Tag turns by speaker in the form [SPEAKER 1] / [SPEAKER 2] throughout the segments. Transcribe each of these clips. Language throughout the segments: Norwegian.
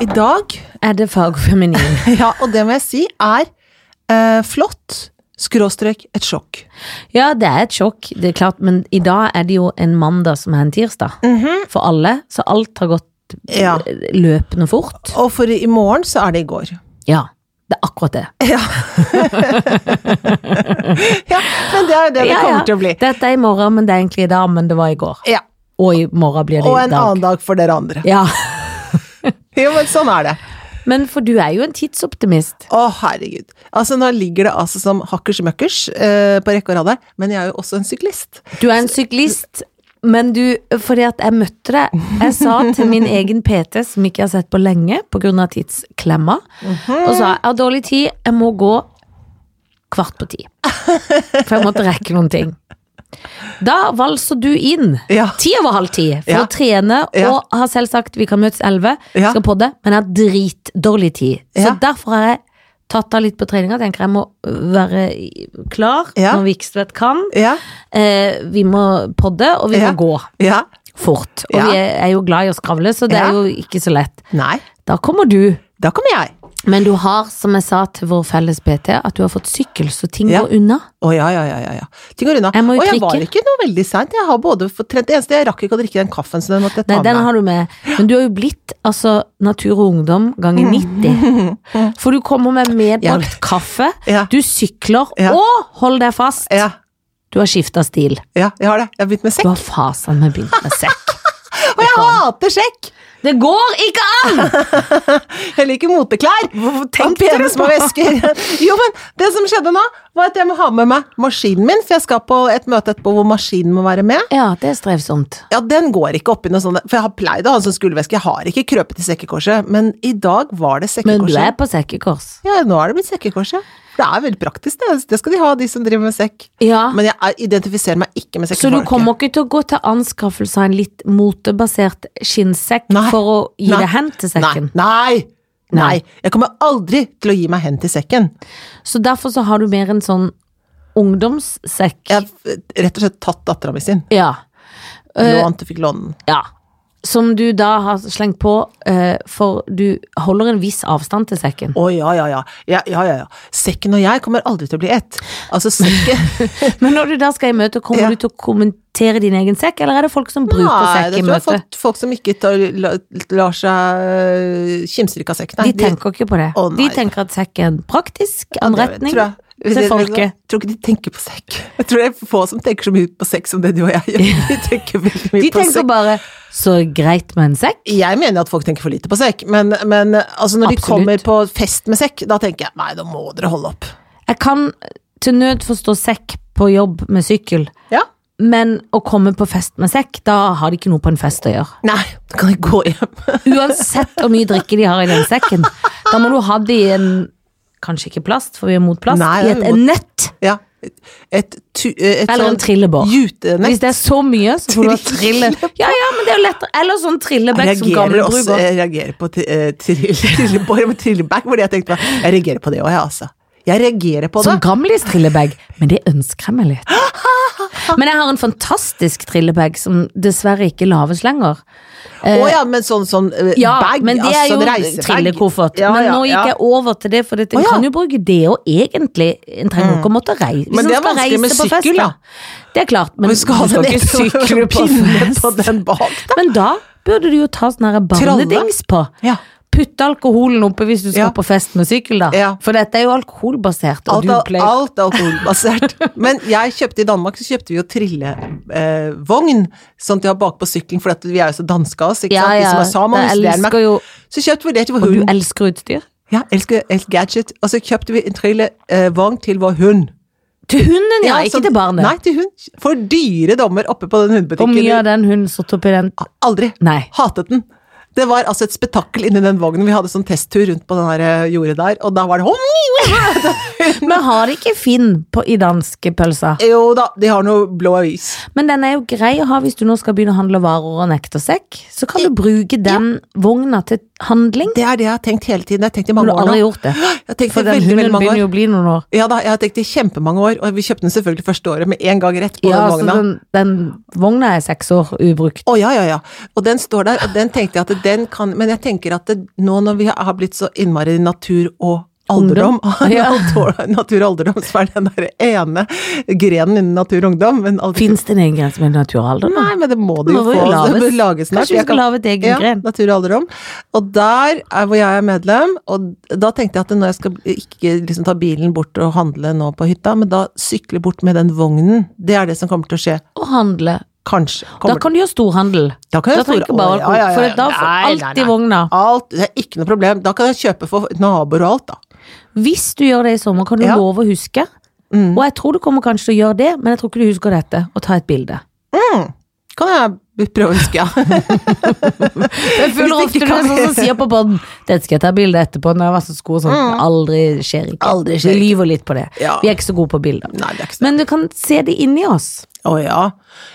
[SPEAKER 1] I dag,
[SPEAKER 2] Er det fagfeminin?
[SPEAKER 1] ja, og det må jeg si, er eh, flott, skråstrek, et sjokk.
[SPEAKER 2] Ja, det er et sjokk, det er klart, men i dag er det jo en mandag som er en tirsdag. For alle, så alt har gått
[SPEAKER 1] Mhm. Ja.
[SPEAKER 2] løpende fort.
[SPEAKER 1] Og for i morgen så er det i går.
[SPEAKER 2] Ja, det er akkurat det.
[SPEAKER 1] Ja. ja, men det er jo det det
[SPEAKER 2] Ja,
[SPEAKER 1] kommer
[SPEAKER 2] ja.
[SPEAKER 1] til å bli.
[SPEAKER 2] Dette er i morgen, men det er egentlig i dag, men det var i går.
[SPEAKER 1] Ja,
[SPEAKER 2] Og i morgen blir det
[SPEAKER 1] Og
[SPEAKER 2] i
[SPEAKER 1] en
[SPEAKER 2] dag.
[SPEAKER 1] annen dag for dere andre.
[SPEAKER 2] Ja,
[SPEAKER 1] Jo, men sånn er det.
[SPEAKER 2] men for du er jo en tidsoptimist.
[SPEAKER 1] Å, herregud. Altså, nå ligger det altså som hakkers møkkers eh, på rekke og rad her, men jeg er jo også en syklist.
[SPEAKER 2] Du er en syklist, men du Fordi at jeg møtte deg. Jeg sa til min egen PT, som ikke jeg har sett på lenge pga. tidsklemma,
[SPEAKER 1] Mhm.
[SPEAKER 2] og sa jeg har dårlig tid, jeg må gå kvart på ti. For jeg måtte rekke noen ting. Da valser du inn.
[SPEAKER 1] Ja.
[SPEAKER 2] Ti over halv ti for
[SPEAKER 1] Ja.
[SPEAKER 2] å trene,
[SPEAKER 1] Ja.
[SPEAKER 2] og har selv sagt vi kan møtes elleve,
[SPEAKER 1] Ja.
[SPEAKER 2] skal podde, men jeg har dritdårlig tid. Så
[SPEAKER 1] Ja.
[SPEAKER 2] derfor har jeg tatt av litt på treninga, tenker jeg må være i- klar
[SPEAKER 1] Ja.
[SPEAKER 2] når Vikstvedt kan.
[SPEAKER 1] Ja,
[SPEAKER 2] Eh, vi må podde, og vi
[SPEAKER 1] Ja.
[SPEAKER 2] må gå
[SPEAKER 1] ja.
[SPEAKER 2] fort. Og
[SPEAKER 1] Ja.
[SPEAKER 2] vi er, er jo glad i å skravle, så det
[SPEAKER 1] Ja.
[SPEAKER 2] er jo ikke så lett.
[SPEAKER 1] Nei,
[SPEAKER 2] Da kommer du.
[SPEAKER 1] da kommer jeg.
[SPEAKER 2] Men du har, som jeg sa til vår felles PT, at du har fått sykkel, så ting
[SPEAKER 1] Ja.
[SPEAKER 2] går unna.
[SPEAKER 1] Å ja, ja, ja, ja, ja. Ting går unna.
[SPEAKER 2] Jeg må jo
[SPEAKER 1] og jeg
[SPEAKER 2] trykke.
[SPEAKER 1] var ikke noe veldig seint. Jeg har både fått trent Det eneste jeg rakk ikke å drikke den kaffen, så den måtte jeg ta
[SPEAKER 2] Nei, den
[SPEAKER 1] med.
[SPEAKER 2] har du med. Men du har jo blitt altså Natur og Ungdom ganger 90. For du kommer med
[SPEAKER 1] Mm. Ja.
[SPEAKER 2] medbrakt kaffe,
[SPEAKER 1] Ja.
[SPEAKER 2] du sykler
[SPEAKER 1] Ja.
[SPEAKER 2] og hold deg fast!
[SPEAKER 1] Ja,
[SPEAKER 2] Du har skifta stil.
[SPEAKER 1] ja, jeg har det. Jeg har begynt med
[SPEAKER 2] Du
[SPEAKER 1] sekk.
[SPEAKER 2] har fasen meg begynt med sekk.
[SPEAKER 1] Og jeg hater sekk!
[SPEAKER 2] Det går ikke an!
[SPEAKER 1] Jeg liker moteklær! Hvorfor
[SPEAKER 2] tenkte du på?
[SPEAKER 1] vesker? Jo, men det som skjedde nå, var at jeg må ha med meg maskinen min, for jeg skal på et møte etterpå hvor maskinen må være med.
[SPEAKER 2] Ja, det er strevsomt.
[SPEAKER 1] Ja, den går ikke oppi noe sånt, for jeg har pleid å ha en sånn skulderveske. Jeg har ikke krøpet i sekkekorset, men i dag var det
[SPEAKER 2] Men
[SPEAKER 1] sekkekorset.
[SPEAKER 2] du er på sekkekors.
[SPEAKER 1] Ja, nå er det blitt sekkekorset. For det er veldig praktisk, det. Det skal de ha, de som driver med sekk.
[SPEAKER 2] Ja.
[SPEAKER 1] Men jeg er- identifiserer meg ikke med
[SPEAKER 2] Så du
[SPEAKER 1] sekkefolket.
[SPEAKER 2] kommer ikke til å gå til anskaffelse av en litt motebasert skinnsekk
[SPEAKER 1] Nei.
[SPEAKER 2] for å gi
[SPEAKER 1] Nei.
[SPEAKER 2] deg hen til sekken?
[SPEAKER 1] Nei! Nei!
[SPEAKER 2] Nei.
[SPEAKER 1] Nei. Jeg kommer aldri til å gi meg hen til sekken.
[SPEAKER 2] Så derfor så har du mer en sånn ungdomssekk.
[SPEAKER 1] Jeg har eh, rett og slett tatt dattera mi sin.
[SPEAKER 2] ja. Eh.
[SPEAKER 1] Lånt og fikk låne den.
[SPEAKER 2] Ja. Som du da har slengt på, eh, for du holder en viss avstand til sekken.
[SPEAKER 1] Å ja, ja, ja. ja, ja, ja, ja. Sekken og jeg kommer aldri til å bli ett. Altså, sekken
[SPEAKER 2] Men når du da skal i møte, kommer
[SPEAKER 1] Ja.
[SPEAKER 2] du til å kommentere din egen sekk, eller er det folk som bruker
[SPEAKER 1] Nei,
[SPEAKER 2] sekk i
[SPEAKER 1] det tror jeg
[SPEAKER 2] møte?
[SPEAKER 1] folk, folk som ikke tar, la, lar seg øh, kimser ikke av sekk. Nei,
[SPEAKER 2] De tenker ikke på det.
[SPEAKER 1] Å, nei.
[SPEAKER 2] de tenker at sekk er en praktisk
[SPEAKER 1] Ja, det
[SPEAKER 2] anretning
[SPEAKER 1] tror jeg.
[SPEAKER 2] til
[SPEAKER 1] Jeg-
[SPEAKER 2] folket.
[SPEAKER 1] Jeg tror ikke de tenker på sekk. Jeg tror det er få som tenker så mye på sekk som det du og jeg gjør. De tenker veldig mye
[SPEAKER 2] De
[SPEAKER 1] på
[SPEAKER 2] tenker
[SPEAKER 1] sekk.
[SPEAKER 2] bare 'så greit med en sekk'.
[SPEAKER 1] Jeg mener at folk tenker for lite på sekk, men, men altså når de
[SPEAKER 2] Absolutt.
[SPEAKER 1] kommer på fest med sekk, da tenker jeg nei, da må dere holde opp.
[SPEAKER 2] Jeg kan til nød forstå sekk på jobb med sykkel,
[SPEAKER 1] Ja.
[SPEAKER 2] men å komme på fest med sekk, da har de ikke noe på en fest å gjøre.
[SPEAKER 1] Nei, da kan jeg gå hjem.
[SPEAKER 2] Uansett hvor mye drikke de har i den sekken. Da må du ha det i en Kanskje ikke plast, for vi er mot plast.
[SPEAKER 1] Nei,
[SPEAKER 2] I
[SPEAKER 1] ja,
[SPEAKER 2] et
[SPEAKER 1] vi må-
[SPEAKER 2] nett!
[SPEAKER 1] Ja. Et, tu, et
[SPEAKER 2] Eller en
[SPEAKER 1] sånn
[SPEAKER 2] trillebår. Hvis
[SPEAKER 1] Jutenett.
[SPEAKER 2] det er så mye, så får du ha trille... Ja, ja, men det er jo lettere. Eller sånn trillebekk som
[SPEAKER 1] reagerer
[SPEAKER 2] gamle
[SPEAKER 1] også, eh,
[SPEAKER 2] bruker.
[SPEAKER 1] jeg reagerer på tri- eh, trill- trillebår med trilleback, hvor jeg tenkte meg, jeg reagerer på det òg, jeg, altså. Jeg reagerer på det.
[SPEAKER 2] Som gamlis trillebag, men det ønsker jeg meg litt. Men jeg har en fantastisk trillebag som dessverre ikke laves lenger.
[SPEAKER 1] Å ja, men sånn, sånn eh,
[SPEAKER 2] Ja,
[SPEAKER 1] bag,
[SPEAKER 2] men det
[SPEAKER 1] altså,
[SPEAKER 2] er jo
[SPEAKER 1] reisebag.
[SPEAKER 2] trillekoffert.
[SPEAKER 1] Ja,
[SPEAKER 2] men
[SPEAKER 1] ja,
[SPEAKER 2] nå gikk
[SPEAKER 1] ja.
[SPEAKER 2] jeg over til det, for det, en
[SPEAKER 1] Å, ja. Mm.
[SPEAKER 2] kan jo bruke det og egentlig. En trenger ikke å måtte reise. Hvis
[SPEAKER 1] Men
[SPEAKER 2] en
[SPEAKER 1] det er
[SPEAKER 2] skal
[SPEAKER 1] vanskelig med
[SPEAKER 2] reise på fest,
[SPEAKER 1] sykkel, da.
[SPEAKER 2] Det er klart, men
[SPEAKER 1] Du skal ha den
[SPEAKER 2] ikke sykle
[SPEAKER 1] ene
[SPEAKER 2] på
[SPEAKER 1] pinne
[SPEAKER 2] fest.
[SPEAKER 1] på den bak.
[SPEAKER 2] Men da burde du jo ta sånn her barnedings på.
[SPEAKER 1] Ja.
[SPEAKER 2] Putte alkoholen oppe hvis du skal
[SPEAKER 1] Ja.
[SPEAKER 2] på fest med sykkel, da.
[SPEAKER 1] Ja.
[SPEAKER 2] For dette er jo alkoholbasert. Og
[SPEAKER 1] Alt,
[SPEAKER 2] du
[SPEAKER 1] er-
[SPEAKER 2] pleier-
[SPEAKER 1] alt er alkoholbasert. Men jeg kjøpte i Danmark så kjøpte vi jo trillevogn, eh, vogn, sånn at de har bakpå sykkelen, for at vi er jo så danske av oss, ikke
[SPEAKER 2] Ja,
[SPEAKER 1] sant? De
[SPEAKER 2] ja,
[SPEAKER 1] som er samer,
[SPEAKER 2] jeg
[SPEAKER 1] hos Danmark.
[SPEAKER 2] elsker jo
[SPEAKER 1] Så kjøpte vi det til vår
[SPEAKER 2] Og du
[SPEAKER 1] hund.
[SPEAKER 2] elsker utstyr?
[SPEAKER 1] Ja, elsker, elsker gadget. Og så kjøpte vi en trillevogn til vår hund.
[SPEAKER 2] Til hunden, ja, ikke
[SPEAKER 1] sånn-
[SPEAKER 2] til barnet.
[SPEAKER 1] Nei, til hund. For dyre dommer oppe på den
[SPEAKER 2] Hvor mye av
[SPEAKER 1] hundebutikken.
[SPEAKER 2] den hunden satt oppi den
[SPEAKER 1] Aldri.
[SPEAKER 2] Nei.
[SPEAKER 1] Hatet den. Det var altså et spetakkel inni den vognen. Vi hadde sånn testtur rundt på den her eh, jordet der, og da var det
[SPEAKER 2] Men har de ikke Finn på, i danske pølser?
[SPEAKER 1] Jo da, de har noe blå avis.
[SPEAKER 2] Men den er jo grei å ha hvis du nå skal begynne å handle varer og nektarsekk. Så kan du bruke den vogna til handling.
[SPEAKER 1] Det er det jeg har tenkt hele tiden. Jeg har tenkt i
[SPEAKER 2] Men
[SPEAKER 1] mange
[SPEAKER 2] du har
[SPEAKER 1] år nå.
[SPEAKER 2] aldri gjort det.
[SPEAKER 1] Jeg har tenkt
[SPEAKER 2] For
[SPEAKER 1] i
[SPEAKER 2] den
[SPEAKER 1] veldig, veldig
[SPEAKER 2] hunden
[SPEAKER 1] mange
[SPEAKER 2] begynner
[SPEAKER 1] år.
[SPEAKER 2] jo å bli noen år.
[SPEAKER 1] Ja da, jeg har tenkt i kjempemange år, og vi kjøpte den selvfølgelig første året med en gang rett på
[SPEAKER 2] Ja,
[SPEAKER 1] den
[SPEAKER 2] så
[SPEAKER 1] vogna.
[SPEAKER 2] den, den vogna er seks år ubrukt.
[SPEAKER 1] Å ja, ja, ja. Og den står der, og den tenkte jeg at den kan Men jeg tenker at det, nå når vi har blitt så innmari natur og alderdom
[SPEAKER 2] Ja.
[SPEAKER 1] Natur og alderdom, så er den der ene grenen innen natur og ungdom men aldri-
[SPEAKER 2] Fins det en egen grense med naturalder? da?
[SPEAKER 1] Nei, men det må det
[SPEAKER 2] Nå
[SPEAKER 1] jo
[SPEAKER 2] må
[SPEAKER 1] få.
[SPEAKER 2] vi lages.
[SPEAKER 1] Det bør lages snart.
[SPEAKER 2] Kanskje vi
[SPEAKER 1] Jeg
[SPEAKER 2] skal
[SPEAKER 1] kan-
[SPEAKER 2] lage et egen
[SPEAKER 1] ja,
[SPEAKER 2] gren?
[SPEAKER 1] Natur og alderrom. Og der er hvor jeg er medlem, og da tenkte jeg at når jeg skal ikke liksom ta bilen bort og handle nå på hytta, men da sykle bort med den vognen. Det er det som kommer til å skje.
[SPEAKER 2] Å handle.
[SPEAKER 1] Kanskje.
[SPEAKER 2] Da
[SPEAKER 1] Kommer
[SPEAKER 2] kan du gjøre storhandel.
[SPEAKER 1] Da kan
[SPEAKER 2] Da
[SPEAKER 1] jeg store-
[SPEAKER 2] trenger ikke
[SPEAKER 1] Å,
[SPEAKER 2] bare
[SPEAKER 1] ja,
[SPEAKER 2] alkohol.
[SPEAKER 1] ja, ja.
[SPEAKER 2] For da får
[SPEAKER 1] Nei, nei,
[SPEAKER 2] alt i
[SPEAKER 1] nei.
[SPEAKER 2] vogna.
[SPEAKER 1] Alt, det er ikke noe problem. Da kan jeg kjøpe for naboer og alt, da.
[SPEAKER 2] Hvis du gjør det i sommer, kan du
[SPEAKER 1] Ja. Mm.
[SPEAKER 2] love å huske. Og jeg tror du kommer kanskje til å gjøre det, men jeg tror ikke du husker dette. Og ta et bilde. Mm.
[SPEAKER 1] Kan jeg prøve å huske, ja.
[SPEAKER 2] Jeg føler
[SPEAKER 1] Hvis
[SPEAKER 2] ofte
[SPEAKER 1] ikke
[SPEAKER 2] det
[SPEAKER 1] kan
[SPEAKER 2] er sånn som sier på bånd Dette skal jeg ta bilde etterpå når jeg har vasket sko og sånn. Aldri skjer ikke.
[SPEAKER 1] Mm. Aldri skjer
[SPEAKER 2] Vi lyver litt på det.
[SPEAKER 1] Ja.
[SPEAKER 2] Vi er ikke så gode på bilder.
[SPEAKER 1] Nei, det er ikke så
[SPEAKER 2] Men du kan se det inni oss.
[SPEAKER 1] Å ja.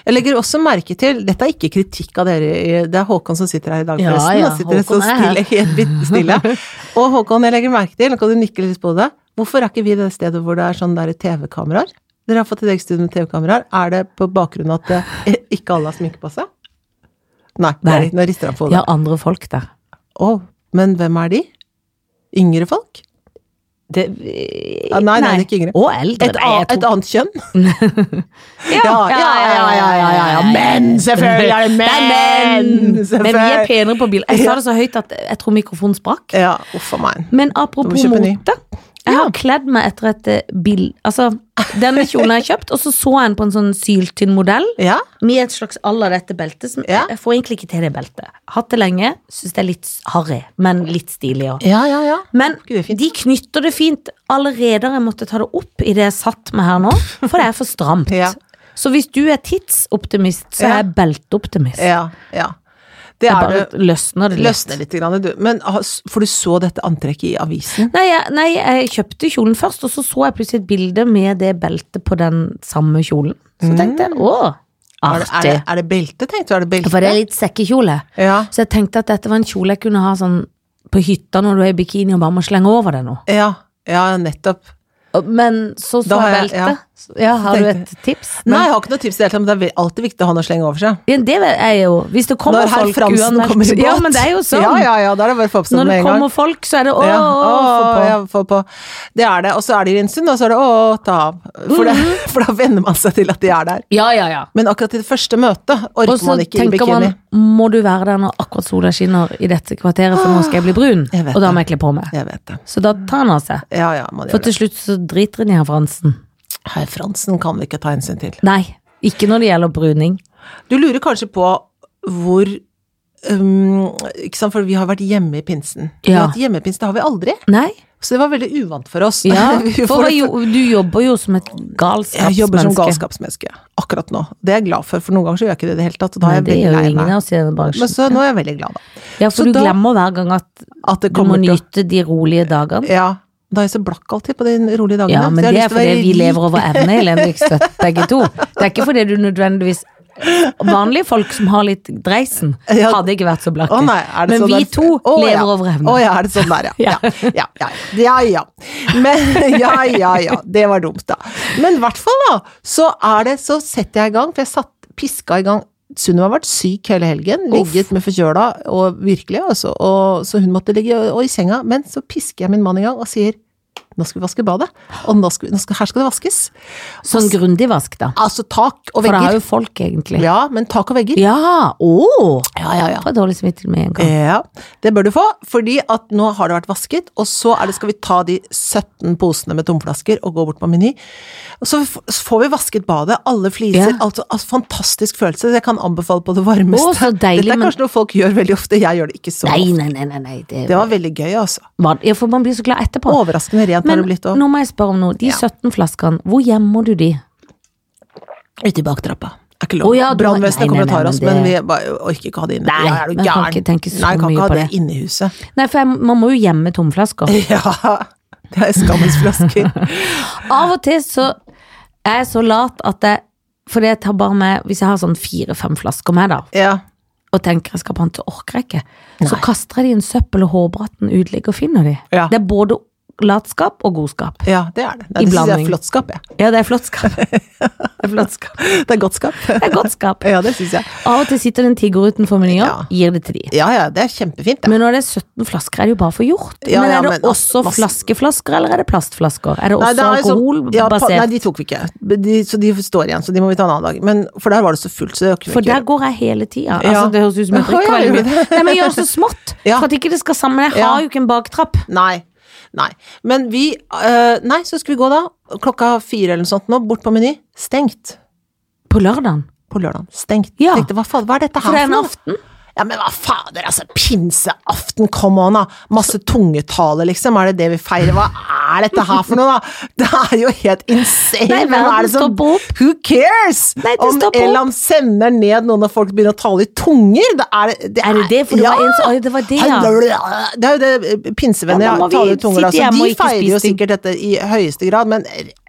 [SPEAKER 1] Jeg legger også merke til Dette er ikke kritikk av dere, i- det er Håkon som sitter her i dag,
[SPEAKER 2] Ja,
[SPEAKER 1] forresten.
[SPEAKER 2] ja,
[SPEAKER 1] Han sitter så
[SPEAKER 2] Håkon er her.
[SPEAKER 1] stille, helt bitte stille. Og Håkon, jeg legger merke til, nå kan du nikke litt på det, hvorfor er ikke vi det stedet hvor det er sånn der TV-kameraer? Dere har fått et eget studio med TV-kameraer. Er det på bakgrunn av at eh, ikke alle har sminke på seg? Nei, det er
[SPEAKER 2] Nei.
[SPEAKER 1] ikke- nå rister han på
[SPEAKER 2] Vi
[SPEAKER 1] hodet.
[SPEAKER 2] har andre folk der.
[SPEAKER 1] Å, men hvem er de? Yngre folk?
[SPEAKER 2] Det,
[SPEAKER 1] Ja, Ah, nei, nei, det er ikke yngre.
[SPEAKER 2] Eh, Og eldre.
[SPEAKER 1] Et,
[SPEAKER 2] Nei, jeg
[SPEAKER 1] a-
[SPEAKER 2] tror-
[SPEAKER 1] et annet kjønn?
[SPEAKER 2] Ja, ja, ja, ja, ja, ja, ja.
[SPEAKER 1] Men, selvfølgelig er det
[SPEAKER 2] Det er menn! Men vi er
[SPEAKER 1] Selvfølgelig.
[SPEAKER 2] penere på bil. Jeg sa det så høyt at jeg tror mikrofonen sprakk.
[SPEAKER 1] Ja, uff a meg.
[SPEAKER 2] Men apropos
[SPEAKER 1] Du må kjøpe ny.
[SPEAKER 2] mote. Jeg har kledd meg etter et eh, bil... Altså, denne kjolen har jeg kjøpt, og så så jeg den på en sånn syltynn modell
[SPEAKER 1] Ja,
[SPEAKER 2] med et slags à la dette beltet. Som,
[SPEAKER 1] Ja.
[SPEAKER 2] Jeg får egentlig ikke til det beltet. Hatt det lenge, syns det er litt harry, men litt stilig òg.
[SPEAKER 1] ja, ja. ja.
[SPEAKER 2] Men
[SPEAKER 1] Gud, det er fint.
[SPEAKER 2] de knytter det fint. Allerede har jeg måtte ta det opp i det jeg satt med her nå, for det er for stramt.
[SPEAKER 1] Ja.
[SPEAKER 2] Så hvis du er tidsoptimist, så er
[SPEAKER 1] Ja.
[SPEAKER 2] jeg belteoptimist.
[SPEAKER 1] Ja, ja. Det
[SPEAKER 2] Jeg
[SPEAKER 1] er
[SPEAKER 2] bare
[SPEAKER 1] det.
[SPEAKER 2] løsner det litt.
[SPEAKER 1] Løsner litt, grann, du. Men har- for du så dette antrekket i avisen?
[SPEAKER 2] Nei jeg, nei, jeg kjøpte kjolen først, og så så jeg plutselig et bilde med det beltet på den samme kjolen. Så tenkte jeg å,
[SPEAKER 1] Er Mm. det, er
[SPEAKER 2] artig.
[SPEAKER 1] det, er det belte, tenkte du? Er det belte?
[SPEAKER 2] For det er litt sekkekjole.
[SPEAKER 1] Ja,
[SPEAKER 2] Så jeg tenkte at dette var en kjole jeg kunne ha sånn på hytta når du er i bikini og bare må slenge over deg nå.
[SPEAKER 1] ja, ja, nettopp.
[SPEAKER 2] Og- Men så så
[SPEAKER 1] Da har
[SPEAKER 2] jeg
[SPEAKER 1] jeg- ja.
[SPEAKER 2] beltet. Ja. har du
[SPEAKER 1] tenkte-
[SPEAKER 2] et tips?
[SPEAKER 1] Nei, jeg har ikke noe tips i det hele tatt, men det er ve- alltid viktig å ha noe å slenge over seg.
[SPEAKER 2] Ja, det er jo Hvis det kommer
[SPEAKER 1] Når herr
[SPEAKER 2] folk
[SPEAKER 1] Fransen
[SPEAKER 2] uanmeldt
[SPEAKER 1] kommer i båt.
[SPEAKER 2] Ja, men det er jo sånn.
[SPEAKER 1] Ja, ja, ja, da er det bare å få opp
[SPEAKER 2] Når
[SPEAKER 1] sånn
[SPEAKER 2] det
[SPEAKER 1] med en gang.
[SPEAKER 2] kommer folk, så er det å,
[SPEAKER 1] Ja.
[SPEAKER 2] å, få
[SPEAKER 1] Å,
[SPEAKER 2] på.
[SPEAKER 1] ja, få på. Det er det. Og så er de i en stund, og så er det å, ta av. For, det, for da venner man seg til at de er der.
[SPEAKER 2] Ja, ja, ja.
[SPEAKER 1] Men akkurat i det første møtet
[SPEAKER 2] Og
[SPEAKER 1] orker
[SPEAKER 2] så
[SPEAKER 1] man ikke i
[SPEAKER 2] tenker
[SPEAKER 1] bikini.
[SPEAKER 2] man må du være der når akkurat sola skinner i dette kvarteret, for nå skal jeg bli brun.
[SPEAKER 1] Jeg vet
[SPEAKER 2] Og da
[SPEAKER 1] det.
[SPEAKER 2] må jeg kle på meg.
[SPEAKER 1] Jeg vet det.
[SPEAKER 2] Så da tar han av seg.
[SPEAKER 1] Ja, ja, man
[SPEAKER 2] For
[SPEAKER 1] gjør det.
[SPEAKER 2] til slutt så driter han i herr Fransen.
[SPEAKER 1] Herr Fransen kan vi ikke ta hensyn til.
[SPEAKER 2] Nei, ikke når det gjelder bruning.
[SPEAKER 1] Du lurer kanskje på hvor um, Ikke sant, for vi har vært hjemme i pinsen. Vi
[SPEAKER 2] Ja.
[SPEAKER 1] har hatt hjemmepinsen, det har vi aldri.
[SPEAKER 2] Nei.
[SPEAKER 1] Så det var veldig uvant for oss.
[SPEAKER 2] Ja,
[SPEAKER 1] Vi
[SPEAKER 2] for
[SPEAKER 1] får-
[SPEAKER 2] hva jo, du jobber jo som et
[SPEAKER 1] jeg jobber som
[SPEAKER 2] galskapsmenneske.
[SPEAKER 1] galskapsmenneske akkurat nå. Det er jeg glad for, for noen ganger så gjør jeg ikke det i det hele tatt. Og da er
[SPEAKER 2] Nei,
[SPEAKER 1] jeg
[SPEAKER 2] det
[SPEAKER 1] veldig
[SPEAKER 2] gjør jo
[SPEAKER 1] lei
[SPEAKER 2] ingen
[SPEAKER 1] meg.
[SPEAKER 2] av oss i denne
[SPEAKER 1] Men
[SPEAKER 2] bransjen.
[SPEAKER 1] så nå er jeg veldig glad, da.
[SPEAKER 2] Ja, for
[SPEAKER 1] så
[SPEAKER 2] du
[SPEAKER 1] da-
[SPEAKER 2] glemmer hver gang at
[SPEAKER 1] At det
[SPEAKER 2] du må
[SPEAKER 1] kommer til å
[SPEAKER 2] nyte de rolige dagene.
[SPEAKER 1] Ja. Da er jeg så blakk alltid på de rolige dagene.
[SPEAKER 2] Ja,
[SPEAKER 1] så
[SPEAKER 2] men
[SPEAKER 1] jeg har lyst
[SPEAKER 2] det er
[SPEAKER 1] til å
[SPEAKER 2] fordi
[SPEAKER 1] være
[SPEAKER 2] vi
[SPEAKER 1] rik.
[SPEAKER 2] lever over evne, Helene Rikstøt, begge to. Det er ikke fordi du nødvendigvis Vanlige folk som har litt dreisen,
[SPEAKER 1] Ja.
[SPEAKER 2] hadde ikke vært så blakke.
[SPEAKER 1] Å nei, er det
[SPEAKER 2] Men
[SPEAKER 1] sånn
[SPEAKER 2] vi
[SPEAKER 1] der-
[SPEAKER 2] to
[SPEAKER 1] Å,
[SPEAKER 2] lever
[SPEAKER 1] ja.
[SPEAKER 2] over evne.
[SPEAKER 1] Å ja, er det sånn der, ja. Ja, ja. ja, ja, ja. Men ja, ja, ja. Det var dumt, da. Men i hvert fall, da, så er det Så setter jeg i gang, for jeg satt, piska i gang Sunniva har vært syk hele helgen,
[SPEAKER 2] Uff.
[SPEAKER 1] ligget med forkjøla, og virkelig, altså, og, så hun måtte ligge og, og i senga. Men så pisker jeg min mann i gang og sier nå skal vi vaske badet, og nå skal, vi- nå skal, her skal det vaskes.
[SPEAKER 2] Sånn grundig vask, da.
[SPEAKER 1] Altså tak og
[SPEAKER 2] For det har
[SPEAKER 1] vegger.
[SPEAKER 2] jo folk, egentlig.
[SPEAKER 1] Ja, men tak og vegger.
[SPEAKER 2] Ja! Å!
[SPEAKER 1] Ja, ja, ja.
[SPEAKER 2] Får dårlig samvittighet med en gang.
[SPEAKER 1] Ja, det bør du få, fordi at nå har det vært vasket, og så er det, skal vi ta de 17 posene med tomflasker og gå bort på Meny. Og så f- så får vi vasket badet, alle fliser,
[SPEAKER 2] Ja.
[SPEAKER 1] altså, altså fantastisk følelse, det kan anbefale på det varmeste.
[SPEAKER 2] Å, så deilig,
[SPEAKER 1] Dette er
[SPEAKER 2] men-
[SPEAKER 1] kanskje noe folk gjør veldig ofte, jeg gjør det ikke så
[SPEAKER 2] Nei,
[SPEAKER 1] ofte.
[SPEAKER 2] nei, nei, nei. nei. Det
[SPEAKER 1] Det var veldig gøy, altså.
[SPEAKER 2] var... Ja, for man blir så glad etterpå.
[SPEAKER 1] Overraskende rent har
[SPEAKER 2] Men
[SPEAKER 1] det blitt òg.
[SPEAKER 2] nå må jeg spørre om noe. De
[SPEAKER 1] Ja.
[SPEAKER 2] 17 flaskene, hvor gjemmer du de?
[SPEAKER 1] Ute i baktrappa. Er ikke lov.
[SPEAKER 2] Å, ja, du har-
[SPEAKER 1] Brannvesenet
[SPEAKER 2] Nei,
[SPEAKER 1] kommer og
[SPEAKER 2] nei, nei,
[SPEAKER 1] tar oss,
[SPEAKER 2] men
[SPEAKER 1] men vi
[SPEAKER 2] det-
[SPEAKER 1] bare orker ikke ha det inne.
[SPEAKER 2] Nei,
[SPEAKER 1] ja, er du
[SPEAKER 2] man kan
[SPEAKER 1] gæren?
[SPEAKER 2] ikke tenke så
[SPEAKER 1] Nei, kan ikke
[SPEAKER 2] mye på
[SPEAKER 1] ha det
[SPEAKER 2] det.
[SPEAKER 1] inne i huset.
[SPEAKER 2] Nei, for jeg, man må jo gjemme tomflasker.
[SPEAKER 1] Ja, det er skammens flasker.
[SPEAKER 2] Av og til så er jeg så lat at jeg Fordi jeg tar bare med Hvis jeg har sånn fire-fem flasker med, da.
[SPEAKER 1] Ja.
[SPEAKER 2] og tenker jeg skal pante, orker jeg ikke. Så kaster jeg de i en søppel, og hårbratten uteligger og finner de.
[SPEAKER 1] Ja.
[SPEAKER 2] Det er både latskap og godskap.
[SPEAKER 1] Ja, det er det.
[SPEAKER 2] I
[SPEAKER 1] Nei, det syns jeg
[SPEAKER 2] blanding.
[SPEAKER 1] er flottskap, jeg.
[SPEAKER 2] Ja, det er flottskap. Det er flottskap.
[SPEAKER 1] Det er godt skap.
[SPEAKER 2] Det er godt skap.
[SPEAKER 1] Ja, det syns jeg.
[SPEAKER 2] Av og til sitter det en tigger utenfor menyer,
[SPEAKER 1] Ja.
[SPEAKER 2] gir det til de.
[SPEAKER 1] Ja ja, det er kjempefint, det.
[SPEAKER 2] Men når det er 17 flasker, er det jo bare for hjort.
[SPEAKER 1] Ja,
[SPEAKER 2] men
[SPEAKER 1] ja,
[SPEAKER 2] er det
[SPEAKER 1] men altså,
[SPEAKER 2] også
[SPEAKER 1] masse-
[SPEAKER 2] flaskeflasker, eller er det plastflasker? Er det også
[SPEAKER 1] det er jo sånn- ja, pa-
[SPEAKER 2] alkoholbasert?
[SPEAKER 1] nei, de tok vi ikke. De, så de står igjen, så de må vi ta en annen dag. Men, for der var det så fullt, så det kunne
[SPEAKER 2] For
[SPEAKER 1] vi ikke
[SPEAKER 2] der
[SPEAKER 1] gjøre.
[SPEAKER 2] går jeg hele tida. Altså,
[SPEAKER 1] Ja.
[SPEAKER 2] det høres ut som jeg
[SPEAKER 1] Ja,
[SPEAKER 2] drikker
[SPEAKER 1] ja,
[SPEAKER 2] veldig
[SPEAKER 1] gjør
[SPEAKER 2] mye. Nei, men gjør så smått,
[SPEAKER 1] Ja.
[SPEAKER 2] for at ikke det skal sammen. Jeg
[SPEAKER 1] Ja.
[SPEAKER 2] har jo ikke en baktrapp.
[SPEAKER 1] Nei. Nei. Men vi eh, Nei, så skulle vi gå da, klokka fire eller noe sånt nå, bort på Meny. Stengt.
[SPEAKER 2] På lørdagen.
[SPEAKER 1] På lørdagen. Stengt.
[SPEAKER 2] Ja.
[SPEAKER 1] Tenkte, hva faen, hva er dette
[SPEAKER 2] For
[SPEAKER 1] her
[SPEAKER 2] det er en
[SPEAKER 1] noe?
[SPEAKER 2] aften.
[SPEAKER 1] Ja, men hva fader, altså, pinseaften, come on, da. Masse tungetale, liksom. Er det det vi feirer? Hva er dette her for noe, da? Det er jo helt insane.
[SPEAKER 2] Nei,
[SPEAKER 1] Hvem er
[SPEAKER 2] verden
[SPEAKER 1] det som-
[SPEAKER 2] stopper opp.
[SPEAKER 1] Who cares?
[SPEAKER 2] Nei, det
[SPEAKER 1] Om
[SPEAKER 2] stopper opp.
[SPEAKER 1] Elam sender ned noen av folk begynner å tale i tunger? Det er, det
[SPEAKER 2] Er det det? For det var en som- Oi, det var det, ja.
[SPEAKER 1] Hallo, Det er jo det eh, pinsevenner
[SPEAKER 2] Ja,
[SPEAKER 1] ja,
[SPEAKER 2] da må vi
[SPEAKER 1] taler i tunger.
[SPEAKER 2] sitte
[SPEAKER 1] Altså.
[SPEAKER 2] hjemme og
[SPEAKER 1] De
[SPEAKER 2] ikke
[SPEAKER 1] feirer jo
[SPEAKER 2] spise ting.
[SPEAKER 1] sikkert dette i høyeste grad, men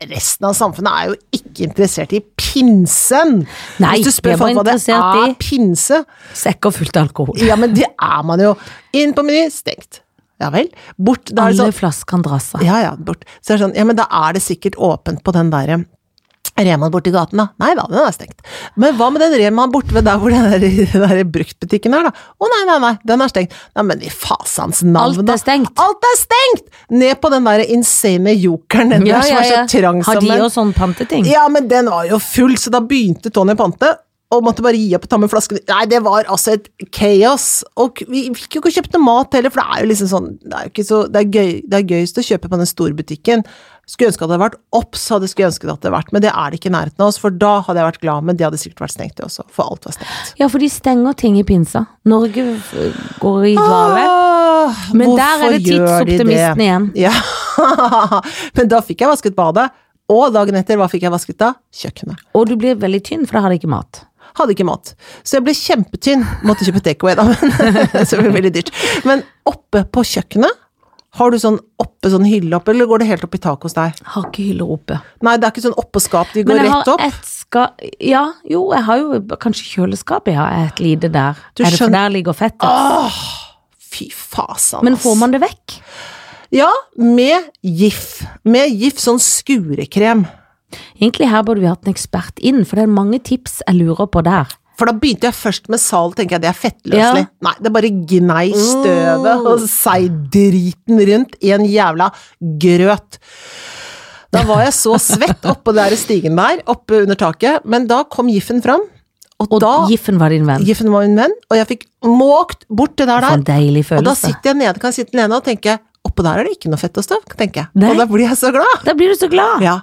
[SPEAKER 1] resten av samfunnet er jo ikke interessert i pinsen.
[SPEAKER 2] Nei,
[SPEAKER 1] Hvis du
[SPEAKER 2] vi er
[SPEAKER 1] spør
[SPEAKER 2] bare
[SPEAKER 1] folk hva det
[SPEAKER 2] interessert
[SPEAKER 1] er
[SPEAKER 2] i-
[SPEAKER 1] pinse,
[SPEAKER 2] Sekker fullt av alkohol.
[SPEAKER 1] ja, men det er man jo. Inn på meny, stengt. Ja vel. Bort. Da er det
[SPEAKER 2] Alle
[SPEAKER 1] sånn
[SPEAKER 2] flaskene dras av.
[SPEAKER 1] Ja ja, bort. Så er det sånn, ja men da er det sikkert åpent på den derre Remaen borti gaten, da. Nei da, den er stengt. Men hva med den Remaen borte ved der hvor den der, den der bruktbutikken er, da? Å nei, nei, nei, den er stengt. Nei, men i fasans navn,
[SPEAKER 2] Alt
[SPEAKER 1] da.
[SPEAKER 2] er stengt.
[SPEAKER 1] Alt er stengt! Ned på den derre insane jokeren, den der som er så trang
[SPEAKER 2] Har
[SPEAKER 1] som
[SPEAKER 2] de
[SPEAKER 1] en-
[SPEAKER 2] òg sånn panteting?
[SPEAKER 1] ja, men den var jo full, så da begynte Tony å Pante. Og måtte bare gi opp og ta med flasken. Nei, det var altså et kaos. Og k- vi fikk jo ikke kjøpt noe mat heller, for det er jo liksom sånn Det er jo ikke så Det er, gøy, det er gøyest å kjøpe på den store butikken. Skulle ønske at det hadde vært OBS, hadde jeg skulle ønske det hadde vært, men det er det ikke i nærheten av oss, for da hadde jeg vært glad, men det hadde sikkert vært stengt, det også, for alt var stengt.
[SPEAKER 2] Ja, for de stenger ting i pinsa. Norge øh, går i dvale.
[SPEAKER 1] Ah. Åh,
[SPEAKER 2] Men
[SPEAKER 1] hvorfor
[SPEAKER 2] der er det
[SPEAKER 1] gjør de det?
[SPEAKER 2] tidsoptimisten igjen.
[SPEAKER 1] Ja. men da fikk jeg vasket badet, og dagen etter, hva fikk jeg vasket da? Kjøkkenet.
[SPEAKER 2] Og du blir veldig tynn, for da har de ikke mat.
[SPEAKER 1] Hadde ikke mat. Så jeg ble kjempetynn. Måtte kjøpe takeaway, da, men så det ble veldig dyrt. Men oppe på kjøkkenet har du sånn oppe sånn hylle opp, eller går det helt opp i taket hos deg?
[SPEAKER 2] Har ikke hyller oppe.
[SPEAKER 1] Nei, det er ikke sånn oppå skap, de går
[SPEAKER 2] Men jeg
[SPEAKER 1] rett
[SPEAKER 2] har
[SPEAKER 1] opp.
[SPEAKER 2] et ska... Ja, jo, jeg har jo kanskje kjøleskapet, ja. er Et lite der.
[SPEAKER 1] Du
[SPEAKER 2] er det for
[SPEAKER 1] skjønner-
[SPEAKER 2] der ligger fettet?
[SPEAKER 1] Fy fasan,
[SPEAKER 2] Men får man det vekk?
[SPEAKER 1] Ja, med GIF. Med GIF sånn skurekrem.
[SPEAKER 2] Egentlig her burde vi hatt en ekspert inn, for det er mange tips jeg lurer på der.
[SPEAKER 1] For da begynte jeg først med sal, tenker jeg det er fettløselig.
[SPEAKER 2] Ja.
[SPEAKER 1] Nei, det er bare gnei støvet og sei driten rundt i en jævla grøt. Da var jeg så svett oppå den der stigen der, oppe under taket, men da kom Giffen fram. Og,
[SPEAKER 2] Og
[SPEAKER 1] da
[SPEAKER 2] Giffen var din venn.
[SPEAKER 1] Giffen var min venn, og jeg fikk måkt bort det der
[SPEAKER 2] For en
[SPEAKER 1] der.
[SPEAKER 2] deilig
[SPEAKER 1] Og da
[SPEAKER 2] følelse. Da,
[SPEAKER 1] sitter jeg nede, kan jeg sitte nede og tenke Oppå der er det ikke noe fett og støv, tenker jeg.
[SPEAKER 2] Nei.
[SPEAKER 1] Og da blir jeg så glad.
[SPEAKER 2] blir du så glad!
[SPEAKER 1] Ja.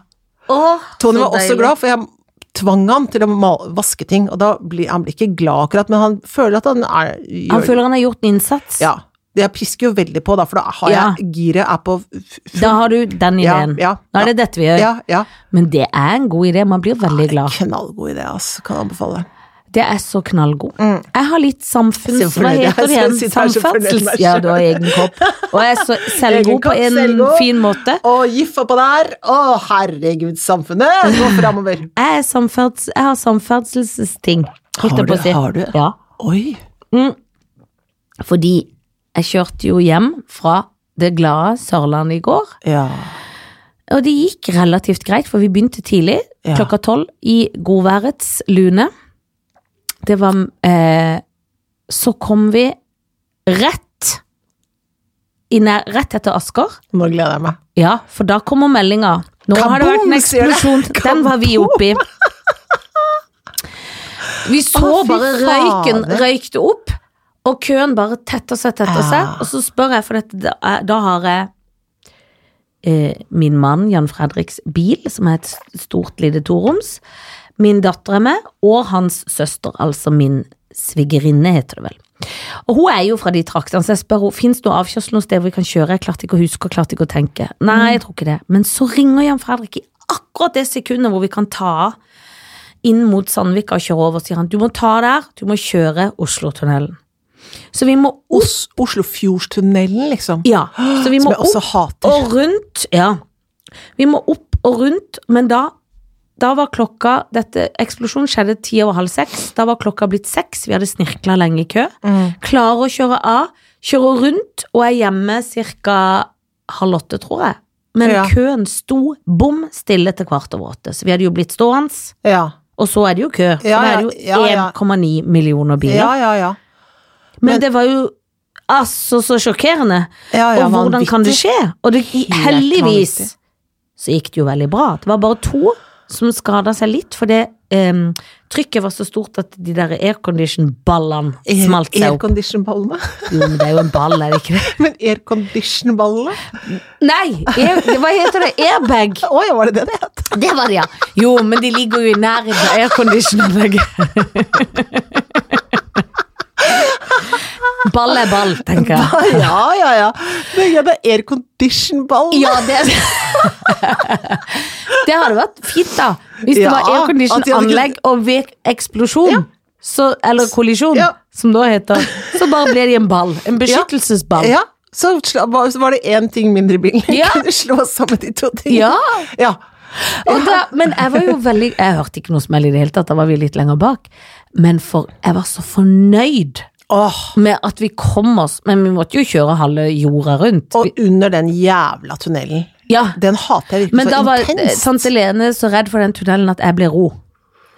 [SPEAKER 2] Åh,
[SPEAKER 1] Tony
[SPEAKER 2] så
[SPEAKER 1] var også
[SPEAKER 2] deilig.
[SPEAKER 1] glad, for jeg tvang han til å mal- vaske ting, og da blir han blir ikke glad akkurat, men han føler at han er gjør,
[SPEAKER 2] Han føler han har gjort en innsats.
[SPEAKER 1] Ja. Det jeg pisker jo veldig på, da, for da har
[SPEAKER 2] Ja.
[SPEAKER 1] jeg giret er på f- f-
[SPEAKER 2] Da har du den
[SPEAKER 1] Ja,
[SPEAKER 2] ideen.
[SPEAKER 1] ja,
[SPEAKER 2] Nå er det dette vi gjør.
[SPEAKER 1] Ja, ja.
[SPEAKER 2] Men det er en god idé, man blir veldig glad.
[SPEAKER 1] Knallgod idé, altså. Kan anbefale.
[SPEAKER 2] Det er så knallgod. Jeg har litt
[SPEAKER 1] Jeg
[SPEAKER 2] samfunns...
[SPEAKER 1] er så
[SPEAKER 2] Hva
[SPEAKER 1] fornøyd.
[SPEAKER 2] heter det
[SPEAKER 1] Jeg
[SPEAKER 2] igjen?
[SPEAKER 1] synes jeg er så fornøyd med
[SPEAKER 2] Samferdsels...
[SPEAKER 1] meg selv.
[SPEAKER 2] Ja, du har egen kopp. Og jeg er så
[SPEAKER 1] Egen
[SPEAKER 2] selvgod på
[SPEAKER 1] kopp,
[SPEAKER 2] en
[SPEAKER 1] selvgod.
[SPEAKER 2] fin måte.
[SPEAKER 1] Og GIF oppå der! Å, herregud, samfunnet går framover!
[SPEAKER 2] Jeg, er samferds... jeg har samferdselsting, holdt
[SPEAKER 1] Har
[SPEAKER 2] jeg på
[SPEAKER 1] du-
[SPEAKER 2] å si.
[SPEAKER 1] har du?
[SPEAKER 2] Ja.
[SPEAKER 1] Oi!
[SPEAKER 2] Fordi jeg kjørte jo hjem fra det glade Sørlandet i går.
[SPEAKER 1] Ja.
[SPEAKER 2] Og det gikk relativt greit, for vi begynte tidlig,
[SPEAKER 1] Ja.
[SPEAKER 2] klokka tolv, i godværets lune. Det var eh, Så kom vi rett i nær, Rett etter Asker.
[SPEAKER 1] Nå gleder jeg meg.
[SPEAKER 2] Ja, for da kommer meldinga. Nå har det vært en
[SPEAKER 1] Kaboom, sier det.
[SPEAKER 2] eksplosjon. Den var vi oppi. Vi så
[SPEAKER 1] Å, fy
[SPEAKER 2] bare røyken
[SPEAKER 1] fader.
[SPEAKER 2] røykte opp, og køen bare tetta seg, tetta
[SPEAKER 1] Ja.
[SPEAKER 2] seg. Og så spør jeg, for dette, da, er- da har jeg eh, min mann Jan Fredriks bil, som er et stort lite toroms. Min datter er med, og hans søster, altså min svigerinne, heter det vel. Og hun er jo fra de traktene, så jeg spør henne fins det noe avkjørsel noe sted hvor vi kan kjøre. Jeg klarte ikke å huske og klarte ikke å tenke.
[SPEAKER 1] Mm.
[SPEAKER 2] Nei, jeg tror ikke det. Men så ringer Jan Fredrik i akkurat det sekundet hvor vi kan ta av inn mot Sandvika og kjøre over, sier han. Du må ta der, du må kjøre Oslotunnelen. Så vi må opp
[SPEAKER 1] Os Oslofjordstunnelen, liksom.
[SPEAKER 2] Ja. Så vi
[SPEAKER 1] Som
[SPEAKER 2] må
[SPEAKER 1] jeg også
[SPEAKER 2] opp
[SPEAKER 1] hater.
[SPEAKER 2] og rundt. Ja. Vi må opp og rundt, men da Da var klokka Dette eksplosjonen skjedde ti over halv seks. Da var klokka blitt seks. Vi hadde snirkla lenge i kø.
[SPEAKER 1] Mm.
[SPEAKER 2] Klarer å kjøre av, kjører rundt og er hjemme ca. halv åtte, tror jeg. Men
[SPEAKER 1] Ja.
[SPEAKER 2] køen sto bom stille til kvart over åtte. Så vi hadde jo blitt stående,
[SPEAKER 1] Ja.
[SPEAKER 2] og så er det jo kø. For
[SPEAKER 1] Ja,
[SPEAKER 2] da
[SPEAKER 1] ja,
[SPEAKER 2] er det
[SPEAKER 1] ja,
[SPEAKER 2] jo
[SPEAKER 1] ja.
[SPEAKER 2] 1,9 millioner biler.
[SPEAKER 1] Ja, ja, ja.
[SPEAKER 2] Men
[SPEAKER 1] Men-
[SPEAKER 2] det var jo altså så sjokkerende.
[SPEAKER 1] ja, ja
[SPEAKER 2] og hvordan kan det
[SPEAKER 1] vanvittig.
[SPEAKER 2] skje? Og det,
[SPEAKER 1] Helt
[SPEAKER 2] heldigvis
[SPEAKER 1] vanvittig.
[SPEAKER 2] så gikk det jo veldig bra. Det var bare to som skada seg litt, for det em, trykket var så stort at de der aircondition-ballene
[SPEAKER 1] Air-
[SPEAKER 2] smalt seg opp.
[SPEAKER 1] Aircondition-ballene?
[SPEAKER 2] Jo, men det er jo en ball, er det ikke det?
[SPEAKER 1] Men aircondition-ballene?
[SPEAKER 2] Nei! Air, det- hva heter det? Airbag!
[SPEAKER 1] Å ja, var det det det het?
[SPEAKER 2] Det var det, ja. Jo, men de ligger jo i nærheten av aircondition-anlegget. Ball er ball, tenker jeg.
[SPEAKER 1] Å, Ja, ja, ja. Men ja, det er aircondition-ballene.
[SPEAKER 2] Ja, det Det hadde vært fint, da. Hvis det
[SPEAKER 1] Ja,
[SPEAKER 2] var
[SPEAKER 1] at de hadde
[SPEAKER 2] aircondition-anlegg og ved eksplosjon, så, eller kollisjon,
[SPEAKER 1] Ja.
[SPEAKER 2] som det heter, så bare ble de en ball. En beskyttelsesball.
[SPEAKER 1] Ja, så sla- var så var det én ting mindre i bilen.
[SPEAKER 2] Ja.
[SPEAKER 1] Kunne slå sammen de to tingene.
[SPEAKER 2] Ja.
[SPEAKER 1] Ja.
[SPEAKER 2] Og da, men jeg var jo veldig Jeg hørte ikke noe smell i det hele tatt, da var vi litt lenger bak. Men for jeg var så fornøyd
[SPEAKER 1] Åh,
[SPEAKER 2] med at vi kom oss Men vi måtte jo kjøre halve jorda rundt.
[SPEAKER 1] og under den jævla tunnelen.
[SPEAKER 2] Ja.
[SPEAKER 1] Den hater jeg virkelig
[SPEAKER 2] Men da
[SPEAKER 1] så
[SPEAKER 2] var eh, sånn
[SPEAKER 1] intenst.
[SPEAKER 2] tante Lene så redd for den tunnelen at jeg ble ro.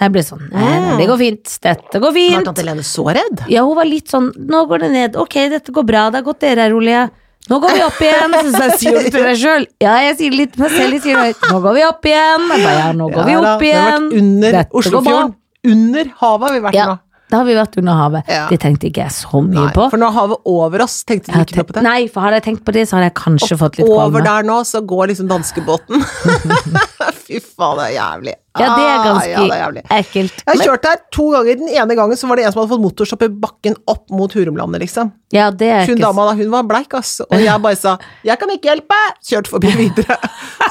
[SPEAKER 2] Jeg ble sånn Nei, nei, det går fint. Dette går
[SPEAKER 1] Var
[SPEAKER 2] fint.
[SPEAKER 1] tante Lene så redd?
[SPEAKER 2] Ja, hun var litt sånn Nå går det ned, ok, dette går bra, det er godt dere er rolige. Nå går vi opp igjen. Så sa jeg sier du til deg sjøl. Ja, jeg sier det litt til meg selv, jeg sier det høyt. Nå går vi opp igjen. Jeg bare, ja, nå går vi
[SPEAKER 1] Ja da,
[SPEAKER 2] opp
[SPEAKER 1] Vi har
[SPEAKER 2] igjen.
[SPEAKER 1] vært under
[SPEAKER 2] Dette går
[SPEAKER 1] Oslofjorden.
[SPEAKER 2] bra.
[SPEAKER 1] Under havet har vi vært
[SPEAKER 2] Ja,
[SPEAKER 1] nå.
[SPEAKER 2] da har vi vært under havet.
[SPEAKER 1] Ja.
[SPEAKER 2] Det tenkte ikke jeg så mye
[SPEAKER 1] Nei,
[SPEAKER 2] på.
[SPEAKER 1] for nå er havet over oss, tenkte du
[SPEAKER 2] Jeg
[SPEAKER 1] ikke noe
[SPEAKER 2] tenkte-
[SPEAKER 1] på det?
[SPEAKER 2] Nei, for hadde jeg tenkt på det, så hadde jeg kanskje fått litt
[SPEAKER 1] Over
[SPEAKER 2] kvalme.
[SPEAKER 1] der nå, så går liksom danskebåten. Fy faen, det er jævlig. Ah,
[SPEAKER 2] Ja, det er
[SPEAKER 1] ja, det er
[SPEAKER 2] ganske
[SPEAKER 1] jævlig.
[SPEAKER 2] ekkelt.
[SPEAKER 1] Jeg har
[SPEAKER 2] Men-
[SPEAKER 1] kjørt der to ganger. Den ene gangen så var det en som hadde fått motorstopp i bakken opp mot Hurumlandet, liksom.
[SPEAKER 2] Ja, det er
[SPEAKER 1] Hun
[SPEAKER 2] ikke
[SPEAKER 1] dama da, hun var bleik, ass. Og jeg bare sa 'jeg kan ikke hjelpe', kjørte forbi videre.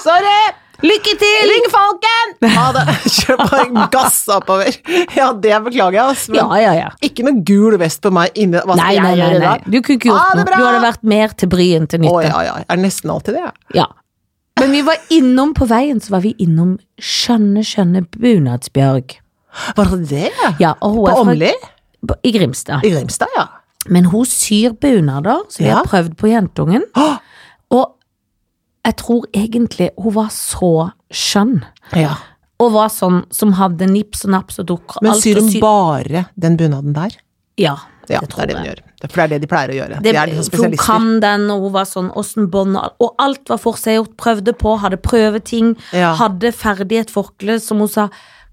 [SPEAKER 1] Sorry!
[SPEAKER 2] Lykke til!
[SPEAKER 1] Ring Falken! Ha det. Kjør bare gass oppover. Ja, det beklager jeg, ass. Men
[SPEAKER 2] Ja, ja, ja.
[SPEAKER 1] ikke noe gul vest på meg inni Hva skal
[SPEAKER 2] Nei, nei,
[SPEAKER 1] jeg
[SPEAKER 2] nei,
[SPEAKER 1] gjøre
[SPEAKER 2] nei.
[SPEAKER 1] i dag?
[SPEAKER 2] Du kunne ikke
[SPEAKER 1] Ha
[SPEAKER 2] gjort noe.
[SPEAKER 1] det bra!
[SPEAKER 2] Du hadde vært mer til bry enn til
[SPEAKER 1] Å
[SPEAKER 2] nytte.
[SPEAKER 1] ja, ja. Jeg er nesten alltid det, jeg.
[SPEAKER 2] Ja. Men vi var innom på veien, så var vi innom skjønne, skjønne Bunadsbjørg.
[SPEAKER 1] Var det det?
[SPEAKER 2] Ja, og hun
[SPEAKER 1] På
[SPEAKER 2] er fra-
[SPEAKER 1] Åmli?
[SPEAKER 2] på- I Grimstad.
[SPEAKER 1] I Grimstad, ja.
[SPEAKER 2] Men hun syr bunader, så vi
[SPEAKER 1] Ja.
[SPEAKER 2] har prøvd på jentungen.
[SPEAKER 1] Åh!
[SPEAKER 2] Og jeg tror egentlig hun var så skjønn.
[SPEAKER 1] ja.
[SPEAKER 2] Og var sånn som hadde nips og naps og dukker.
[SPEAKER 1] Men
[SPEAKER 2] alt
[SPEAKER 1] syr
[SPEAKER 2] og
[SPEAKER 1] hun
[SPEAKER 2] sy-
[SPEAKER 1] bare den bunaden der?
[SPEAKER 2] Ja, det
[SPEAKER 1] Ja, det,
[SPEAKER 2] tror
[SPEAKER 1] er det
[SPEAKER 2] jeg.
[SPEAKER 1] hun gjør. Det- For det er det de pleier å gjøre.
[SPEAKER 2] Det,
[SPEAKER 1] de er liksom
[SPEAKER 2] for hun
[SPEAKER 1] spesialister.
[SPEAKER 2] kan den, og hun var sånn åssen bånd og alt- Og alt var forseggjort, prøvde på, hadde prøveting,
[SPEAKER 1] Ja.
[SPEAKER 2] hadde ferdig et forkle som hun sa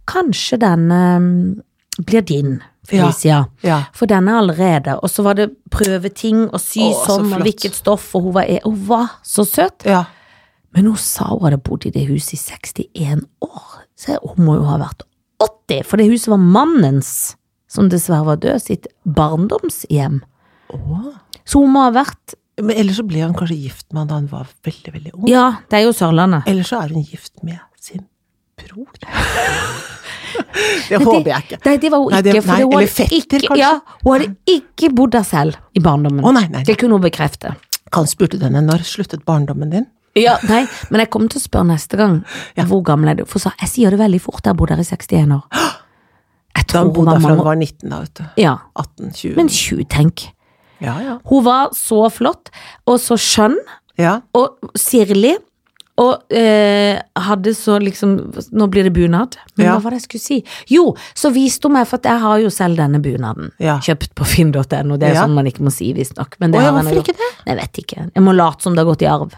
[SPEAKER 2] Kanskje denne mm, blir din, Felicia.
[SPEAKER 1] Ja.
[SPEAKER 2] For den er allerede. Og så var det prøveting og sy
[SPEAKER 1] Å, så
[SPEAKER 2] sånn, og
[SPEAKER 1] flott.
[SPEAKER 2] hvilket stoff, og hun var, e- hun var så søt.
[SPEAKER 1] ja.
[SPEAKER 2] Men hun sa hun hadde bodd i det huset i 61 år. Så jeg- hun må jo ha vært 80, for det huset var mannens, som dessverre var død, sitt barndomshjem. Så hun må ha vært
[SPEAKER 1] Men ellers så ble hun kanskje gift med han da hun var veldig, veldig ung.
[SPEAKER 2] Ja, det er jo Sørlandet.
[SPEAKER 1] Eller så er hun gift med sin bror. det håper jeg ikke.
[SPEAKER 2] Nei, det var hun
[SPEAKER 1] Nei,
[SPEAKER 2] ikke.
[SPEAKER 1] det-
[SPEAKER 2] for
[SPEAKER 1] nei,
[SPEAKER 2] hun
[SPEAKER 1] eller
[SPEAKER 2] hadde
[SPEAKER 1] fetter,
[SPEAKER 2] ikke,
[SPEAKER 1] kanskje?
[SPEAKER 2] ja, hun hadde ikke bodd der selv i barndommen.
[SPEAKER 1] Å, nei, nei, nei.
[SPEAKER 2] Det kunne hun bekrefte.
[SPEAKER 1] Han spurte henne når sluttet barndommen din?
[SPEAKER 2] Ja, nei, men jeg kommer til å spørre neste gang hvor gammel er du? For hun sa, jeg sier det veldig fort, jeg har bodd der i 61 år. Jeg
[SPEAKER 1] Da
[SPEAKER 2] tror
[SPEAKER 1] hun
[SPEAKER 2] hun
[SPEAKER 1] bodde
[SPEAKER 2] var
[SPEAKER 1] der fra hun
[SPEAKER 2] mange år.
[SPEAKER 1] var 19, da, vet du.
[SPEAKER 2] Ja,
[SPEAKER 1] 18-20.
[SPEAKER 2] men 20, tenk.
[SPEAKER 1] Ja, ja.
[SPEAKER 2] Hun var så flott, og så skjønn,
[SPEAKER 1] ja.
[SPEAKER 2] og sirlig. Og eh, hadde så liksom Nå blir det bunad. Men
[SPEAKER 1] Ja.
[SPEAKER 2] hva var det jeg skulle si? Jo, så viste hun meg, for at jeg har jo selv denne bunaden.
[SPEAKER 1] Ja.
[SPEAKER 2] Kjøpt på finn.no. Det er
[SPEAKER 1] Ja.
[SPEAKER 2] sånn man ikke må si, visstnok. Men det
[SPEAKER 1] Å, ja,
[SPEAKER 2] har jeg nå
[SPEAKER 1] hvorfor
[SPEAKER 2] gjort.
[SPEAKER 1] ikke det?
[SPEAKER 2] Jeg vet ikke. Jeg må late som det har gått i arv.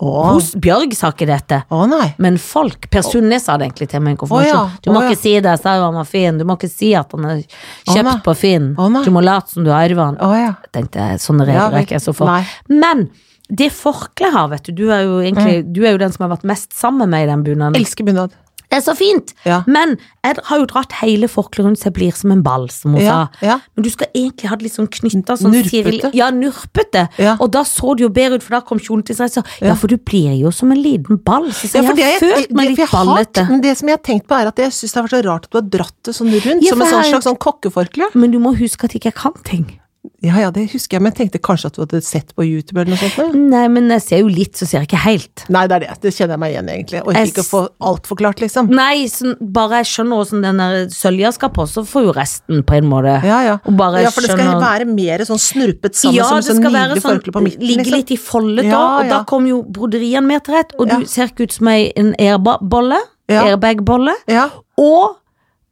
[SPEAKER 1] Å,
[SPEAKER 2] Hos Bjørg sa ikke dette.
[SPEAKER 1] å nei.
[SPEAKER 2] Men folk Per Sunne sa det egentlig til meg i en konfirmasjon.
[SPEAKER 1] Å ja,
[SPEAKER 2] Du må
[SPEAKER 1] å ja.
[SPEAKER 2] ikke si det, sa jo han var fin. Du må ikke si at han er
[SPEAKER 1] Å nei.
[SPEAKER 2] kjøpt på Finn.
[SPEAKER 1] Å nei.
[SPEAKER 2] Du må late som du har arvet han.
[SPEAKER 1] Å ja.
[SPEAKER 2] Tenkte jeg, sånne
[SPEAKER 1] Ja,
[SPEAKER 2] regler er
[SPEAKER 1] vel.
[SPEAKER 2] ikke jeg så for.
[SPEAKER 1] Nei.
[SPEAKER 2] Men det forkleet her, vet du, du er jo egentlig Du er jo den som har vært mest sammen med i den bunaden.
[SPEAKER 1] Mm. Elsker bunad.
[SPEAKER 2] Det er så fint!
[SPEAKER 1] Ja.
[SPEAKER 2] Men jeg har jo dratt hele forkleet rundt så jeg blir som en ball, som hun
[SPEAKER 1] Ja,
[SPEAKER 2] sa.
[SPEAKER 1] ja.
[SPEAKER 2] Men du skal egentlig ha det litt sånn knytta sånn
[SPEAKER 1] Nurpete.
[SPEAKER 2] sirlig- Ja, nurpete.
[SPEAKER 1] Ja.
[SPEAKER 2] Og da så det jo bedre ut, for da kom kjolen til seg. Så, ja. for du blir jo som en liten ball. Så, så
[SPEAKER 1] Ja, for det,
[SPEAKER 2] jeg har
[SPEAKER 1] jeg,
[SPEAKER 2] følt meg
[SPEAKER 1] det, for jeg
[SPEAKER 2] litt
[SPEAKER 1] har,
[SPEAKER 2] ballete.
[SPEAKER 1] men det som jeg har tenkt på, er at jeg syns det har vært så rart at du har dratt det sånn rundt,
[SPEAKER 2] Ja,
[SPEAKER 1] som
[SPEAKER 2] for
[SPEAKER 1] en
[SPEAKER 2] jeg
[SPEAKER 1] sånn
[SPEAKER 2] har jo-
[SPEAKER 1] slags sånn kokkeforkle.
[SPEAKER 2] Men du må huske at jeg ikke kan ting.
[SPEAKER 1] Ja ja, det husker jeg, men jeg tenkte kanskje at du hadde sett på YouTube eller noe sånt? nå.
[SPEAKER 2] Nei, men jeg ser jo litt, så ser jeg ikke helt.
[SPEAKER 1] Nei, det er det. Det kjenner jeg meg igjen i, egentlig. Jeg orker
[SPEAKER 2] Jeg
[SPEAKER 1] ikke å
[SPEAKER 2] s-
[SPEAKER 1] få alt forklart, liksom.
[SPEAKER 2] Nei, sånn, bare jeg skjønner hvordan den der sølja skal på, så får jo resten på en måte
[SPEAKER 1] Ja ja.
[SPEAKER 2] Og bare
[SPEAKER 1] ja for det skal
[SPEAKER 2] skjønner-
[SPEAKER 1] være mer sånn snurpet sammen
[SPEAKER 2] ja,
[SPEAKER 1] som
[SPEAKER 2] det
[SPEAKER 1] sånn
[SPEAKER 2] skal være
[SPEAKER 1] nydelig
[SPEAKER 2] sånn,
[SPEAKER 1] forkle på midten.
[SPEAKER 2] ligge
[SPEAKER 1] liksom.
[SPEAKER 2] litt i foldet da,
[SPEAKER 1] Ja,
[SPEAKER 2] og da
[SPEAKER 1] ja.
[SPEAKER 2] kommer jo broderien mer til rett, og
[SPEAKER 1] Ja.
[SPEAKER 2] du ser ikke ut som ei- en airbag-bolle,
[SPEAKER 1] Ja.
[SPEAKER 2] airbag-bolle,
[SPEAKER 1] Ja.
[SPEAKER 2] og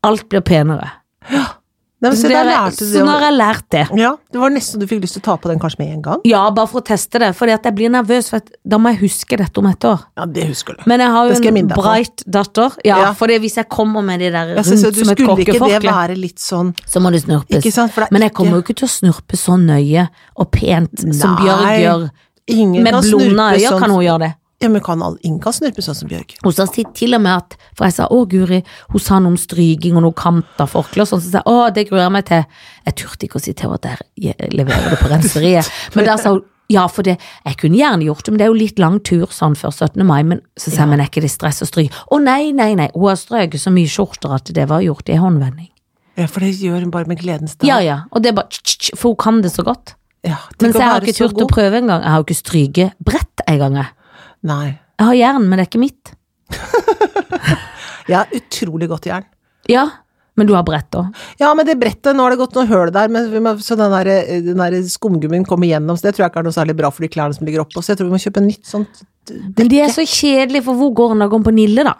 [SPEAKER 2] alt blir penere.
[SPEAKER 1] Nei, men,
[SPEAKER 2] Så,
[SPEAKER 1] se,
[SPEAKER 2] det
[SPEAKER 1] der
[SPEAKER 2] er, sånn
[SPEAKER 1] lærte du
[SPEAKER 2] så
[SPEAKER 1] det.
[SPEAKER 2] nå har jeg lært det.
[SPEAKER 1] Ja, det var nesten du fikk lyst til å ta på den kanskje med en gang.
[SPEAKER 2] Ja, bare for å teste det, for jeg blir nervøs, for at da må jeg huske dette om et år.
[SPEAKER 1] Ja, det husker du.
[SPEAKER 2] Men jeg
[SPEAKER 1] Det
[SPEAKER 2] har jo
[SPEAKER 1] skal jeg
[SPEAKER 2] en
[SPEAKER 1] minne deg på.
[SPEAKER 2] bright datter, ja,
[SPEAKER 1] Ja.
[SPEAKER 2] for det hvis jeg kommer med de der
[SPEAKER 1] Jeg
[SPEAKER 2] rundt
[SPEAKER 1] synes, at du
[SPEAKER 2] som et
[SPEAKER 1] skulle ikke det
[SPEAKER 2] kokkeforkle,
[SPEAKER 1] være litt sånn
[SPEAKER 2] så må det snurpes.
[SPEAKER 1] Ikke sant? For det er
[SPEAKER 2] Men jeg
[SPEAKER 1] ikke-
[SPEAKER 2] kommer jo ikke til å snurpe så nøye og pent som
[SPEAKER 1] Nei.
[SPEAKER 2] Bjørg gjør.
[SPEAKER 1] Ingen
[SPEAKER 2] Med
[SPEAKER 1] kan
[SPEAKER 2] blonde
[SPEAKER 1] snurpe
[SPEAKER 2] øyne
[SPEAKER 1] sånn
[SPEAKER 2] kan hun gjøre det.
[SPEAKER 1] Ja, men kan alle, ingen kan snurpe sånn som Bjørg.
[SPEAKER 2] Hun sa si- til og med at For jeg sa å Guri, hun sa noe om stryging og noe kant av forkle og sånn, så sa jeg å, det gruer jeg meg til. Jeg turte ikke å si til henne at jeg jeg leverer det på renseriet. Men der sa hun ja, for det, jeg kunne gjerne gjort det, men det er jo litt lang tur sånn før 17. mai. Men så sa jeg, men er ikke det stress å stryke? Å nei, nei, nei, hun har strøket så mye skjorter at det var gjort i håndvending.
[SPEAKER 1] Ja, for det gjør hun bare med gledens dag.
[SPEAKER 2] Ja ja, og det er bare tsk, tsk, tsk, for hun kan det så godt.
[SPEAKER 1] Ja,
[SPEAKER 2] Men
[SPEAKER 1] tenk å
[SPEAKER 2] så jeg har
[SPEAKER 1] være
[SPEAKER 2] ikke
[SPEAKER 1] så
[SPEAKER 2] turt å
[SPEAKER 1] god.
[SPEAKER 2] prøve engang. Jeg har jo ikke stryket brett engang, jeg.
[SPEAKER 1] Nei.
[SPEAKER 2] Jeg har jern, men det er ikke mitt.
[SPEAKER 1] Jeg har utrolig godt jern.
[SPEAKER 2] Ja, men du har brett òg.
[SPEAKER 1] Ja, men det brettet, nå har det gått noe høl der, men vi må, så den der, eh, den der skumgummien kommer gjennom, så det tror jeg ikke er noe særlig bra for de klærne som ligger oppå, så jeg tror vi må kjøpe nytt sånt
[SPEAKER 2] Men de er så kjedelige, for hvor går Nagon på Nille, da?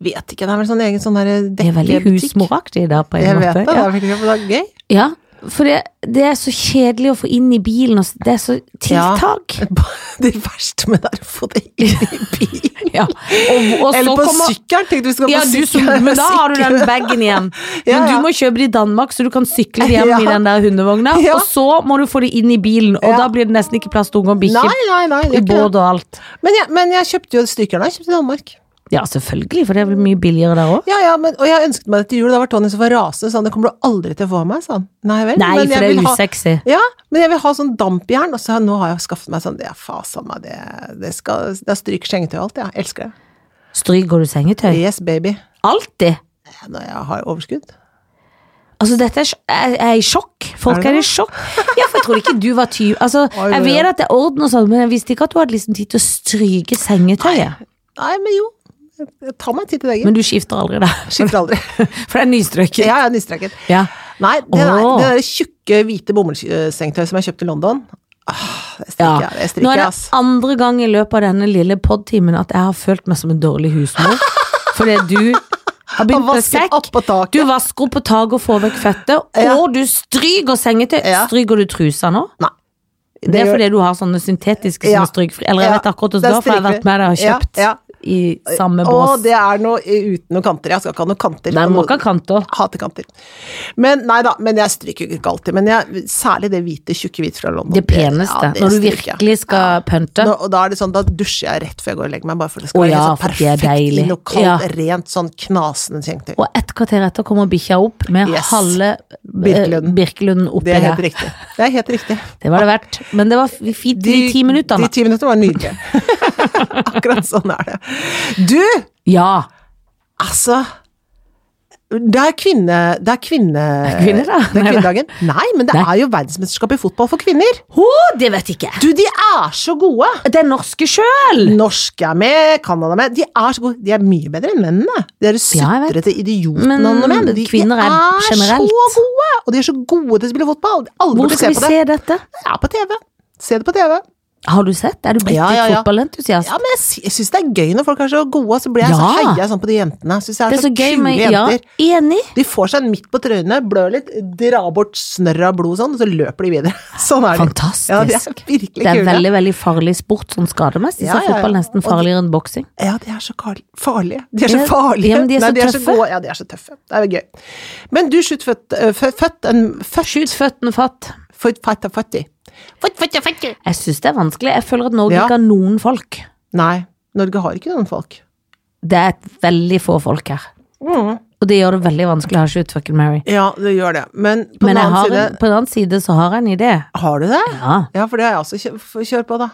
[SPEAKER 1] Vet ikke, det er vel sånn egen sånn derre
[SPEAKER 2] De er veldig
[SPEAKER 1] dekkebutikk.
[SPEAKER 2] husmoraktige der, på en
[SPEAKER 1] Jeg vet
[SPEAKER 2] måte.
[SPEAKER 1] det, det er veldig det er gøy.
[SPEAKER 2] ja. ja, for det, det er så kjedelig å få inn i bilen, og s- det er så tiltak.
[SPEAKER 1] Det verste med det er å få det inn i bilen.
[SPEAKER 2] Ja. Og, og så
[SPEAKER 1] Eller på
[SPEAKER 2] kommer
[SPEAKER 1] sykkelen, tenkte du skal
[SPEAKER 2] ja,
[SPEAKER 1] på
[SPEAKER 2] du, som,
[SPEAKER 1] sykkelen.
[SPEAKER 2] men da har du den bagen igjen.
[SPEAKER 1] Ja,
[SPEAKER 2] Men
[SPEAKER 1] ja.
[SPEAKER 2] du må kjøpe det i Danmark, så du kan sykle hjem i
[SPEAKER 1] Ja.
[SPEAKER 2] den der hundevogna.
[SPEAKER 1] Ja.
[SPEAKER 2] Og så må du få det inn i bilen, og
[SPEAKER 1] Ja.
[SPEAKER 2] da blir det nesten ikke plass til unger og
[SPEAKER 1] Nei,
[SPEAKER 2] bikkjer.
[SPEAKER 1] nei, nei. det
[SPEAKER 2] I
[SPEAKER 1] er ikke det.
[SPEAKER 2] båt og alt.
[SPEAKER 1] Men jeg, men jeg kjøpte jo stykkerne, jeg kjøpte i Danmark.
[SPEAKER 2] Ja, selvfølgelig, for det er vel mye billigere der òg.
[SPEAKER 1] Ja, ja, men, og jeg ønsket meg det til jul, da var Tony så var rasende, sa han det kommer du aldri til å få av meg, sa han. Nei vel,
[SPEAKER 2] Nei,
[SPEAKER 1] men
[SPEAKER 2] for
[SPEAKER 1] jeg
[SPEAKER 2] det
[SPEAKER 1] vil
[SPEAKER 2] er
[SPEAKER 1] ha
[SPEAKER 2] usexy.
[SPEAKER 1] ja, men jeg vil ha sånn dampjern, og så har- nå har jeg skaffet meg sånn, det er faen meg, det, det skal, det er stryk skjengetøy og alt, jeg elsker det.
[SPEAKER 2] Stryker du sengetøy?
[SPEAKER 1] Yes, baby.
[SPEAKER 2] Alltid.
[SPEAKER 1] Når jeg har overskudd.
[SPEAKER 2] Altså, dette er, sj- jeg jeg er i sjokk. Folk
[SPEAKER 1] Er
[SPEAKER 2] er,
[SPEAKER 1] det
[SPEAKER 2] i sjokk. Ja, for jeg trodde ikke du var tyv. Altså,
[SPEAKER 1] Oi, oi,
[SPEAKER 2] jeg
[SPEAKER 1] oi.
[SPEAKER 2] vet at det er orden og sånn, men jeg visste ikke at du hadde liksom tid til å stryke sengetøyet.
[SPEAKER 1] Nei, men jo, jeg, jeg tar meg tid til det, gitt.
[SPEAKER 2] Men du skifter aldri det.
[SPEAKER 1] Skifter aldri.
[SPEAKER 2] For det er nystrøket.
[SPEAKER 1] Ja, jeg er nystreket.
[SPEAKER 2] Ja.
[SPEAKER 1] Nei, det der,
[SPEAKER 2] Åh.
[SPEAKER 1] det der tjukke, hvite bomullssengetøyet som jeg kjøpte i London, ah, det
[SPEAKER 2] Ja.
[SPEAKER 1] strikker jeg, det
[SPEAKER 2] Nå
[SPEAKER 1] strikker
[SPEAKER 2] er
[SPEAKER 1] jeg,
[SPEAKER 2] det
[SPEAKER 1] ass.
[SPEAKER 2] andre gang i løpet av denne lille podtimen at jeg har følt meg som en dårlig husmor. Fordi du har begynt med
[SPEAKER 1] Vasket
[SPEAKER 2] sekk.
[SPEAKER 1] opp på taket.
[SPEAKER 2] Du vasker opp på taket og får vekk fettet,
[SPEAKER 1] Ja.
[SPEAKER 2] og du stryker sengetøy.
[SPEAKER 1] Ja.
[SPEAKER 2] Stryker du trusa nå?
[SPEAKER 1] Nei.
[SPEAKER 2] Det, er fordi du har sånne syntetiske
[SPEAKER 1] Ja.
[SPEAKER 2] som er strykfri. Eller jeg
[SPEAKER 1] Ja.
[SPEAKER 2] vet akkurat
[SPEAKER 1] Det
[SPEAKER 2] hvordan
[SPEAKER 1] er
[SPEAKER 2] du har, for jeg har vært med deg og
[SPEAKER 1] strykfri.
[SPEAKER 2] kjøpt
[SPEAKER 1] Ja,
[SPEAKER 2] i samme
[SPEAKER 1] Og
[SPEAKER 2] bås.
[SPEAKER 1] det er noe uten noen kanter. Jeg skal ikke ha noen kanter.
[SPEAKER 2] Nei,
[SPEAKER 1] på
[SPEAKER 2] må
[SPEAKER 1] noe-
[SPEAKER 2] ikke ha kanter.
[SPEAKER 1] Hater kanter. Men nei da, men jeg stryker ikke alltid. Men jeg, særlig det hvite, tjukke hvit fra London.
[SPEAKER 2] Det peneste.
[SPEAKER 1] ja, det
[SPEAKER 2] når du
[SPEAKER 1] stryker jeg.
[SPEAKER 2] virkelig skal pønte.
[SPEAKER 1] Nå- og da er det sånn, da dusjer jeg rett før jeg går og legger meg, bare for det skal
[SPEAKER 2] Å
[SPEAKER 1] være
[SPEAKER 2] ja,
[SPEAKER 1] helt sånn
[SPEAKER 2] for det er
[SPEAKER 1] perfekt
[SPEAKER 2] deilig.
[SPEAKER 1] inn og kaldt,
[SPEAKER 2] Ja.
[SPEAKER 1] rent, sånn knasende sengetøy.
[SPEAKER 2] Og et kvarter etter kommer bikkja opp med
[SPEAKER 1] Yes.
[SPEAKER 2] halve
[SPEAKER 1] Birkelunden.
[SPEAKER 2] Birkelunden, Birkelunden oppi
[SPEAKER 1] Det er helt
[SPEAKER 2] der.
[SPEAKER 1] riktig. Det er helt riktig.
[SPEAKER 2] Det var det verdt. Men det var f- fint de, ti minuttene.
[SPEAKER 1] De ti minuttene var nydelige. Akkurat sånn er det. Du!
[SPEAKER 2] ja.
[SPEAKER 1] Altså det er kvinne... Det er kvinne...
[SPEAKER 2] kvinner, da?
[SPEAKER 1] Det er kvinnedagen. Nei, men det
[SPEAKER 2] Nei.
[SPEAKER 1] er jo verdensmesterskap i fotball for kvinner!
[SPEAKER 2] Å, det vet jeg ikke.
[SPEAKER 1] Du, de er så gode!
[SPEAKER 2] Det er norske sjøl!
[SPEAKER 1] Norske er med, Canada er med. De er så gode. De er mye bedre enn mennene. De er
[SPEAKER 2] Ja, jeg
[SPEAKER 1] sutrete idiotene
[SPEAKER 2] Men
[SPEAKER 1] av menn. De,
[SPEAKER 2] kvinner er
[SPEAKER 1] de er
[SPEAKER 2] generelt.
[SPEAKER 1] så gode! Og de er så gode til å spille fotball. Alle
[SPEAKER 2] Hvor
[SPEAKER 1] burde se
[SPEAKER 2] skal vi
[SPEAKER 1] på det.
[SPEAKER 2] se dette?
[SPEAKER 1] Det er på TV. Se det på TV.
[SPEAKER 2] Har du sett? Er du blitt
[SPEAKER 1] Ja, ja,
[SPEAKER 2] litt
[SPEAKER 1] ja.
[SPEAKER 2] fotballentusiast?
[SPEAKER 1] Ja, men jeg, sy- jeg syns det er gøy når folk er så gode, og så blir jeg så
[SPEAKER 2] Ja.
[SPEAKER 1] heier jeg sånn på de jentene. Synes jeg
[SPEAKER 2] det er så gøy med
[SPEAKER 1] kule
[SPEAKER 2] Ja,
[SPEAKER 1] jenter.
[SPEAKER 2] enig.
[SPEAKER 1] De får seg midt på trynet, blør litt, drar bort snørr av blod sånn, og så løper de videre. Sånn er de.
[SPEAKER 2] Fantastisk.
[SPEAKER 1] Ja, de er virkelig
[SPEAKER 2] Det er
[SPEAKER 1] kule.
[SPEAKER 2] veldig veldig farlig sport sånn skademessig.
[SPEAKER 1] Ja,
[SPEAKER 2] så
[SPEAKER 1] ja, ja.
[SPEAKER 2] fotball er nesten farligere enn boksing.
[SPEAKER 1] Ja, de er så kar- farlige. De er så
[SPEAKER 2] Ja,
[SPEAKER 1] farlige.
[SPEAKER 2] ja, men de er
[SPEAKER 1] Nei,
[SPEAKER 2] så tøffe.
[SPEAKER 1] gode. Ja, de er så tøffe. Det er jo gøy. Men du skyt født, øh, fø- født en født
[SPEAKER 2] Skyt føttene fatt.
[SPEAKER 1] født fatt av fattig.
[SPEAKER 3] Fort, fort, fort.
[SPEAKER 2] Jeg syns det er vanskelig. Jeg føler at Norge
[SPEAKER 1] Ja.
[SPEAKER 2] ikke har noen folk.
[SPEAKER 1] Nei, Norge har ikke noen folk.
[SPEAKER 2] Det er et veldig få folk her. Og det gjør det veldig vanskelig å ha skyt fucking Mary.
[SPEAKER 1] Ja, det gjør det. Men på den
[SPEAKER 2] Men jeg
[SPEAKER 1] annen
[SPEAKER 2] har
[SPEAKER 1] side
[SPEAKER 2] en, på den annen side så har jeg en idé.
[SPEAKER 1] Har du det?
[SPEAKER 2] Ja.
[SPEAKER 1] Ja, for det har jeg også kjø- f- kjør på, da.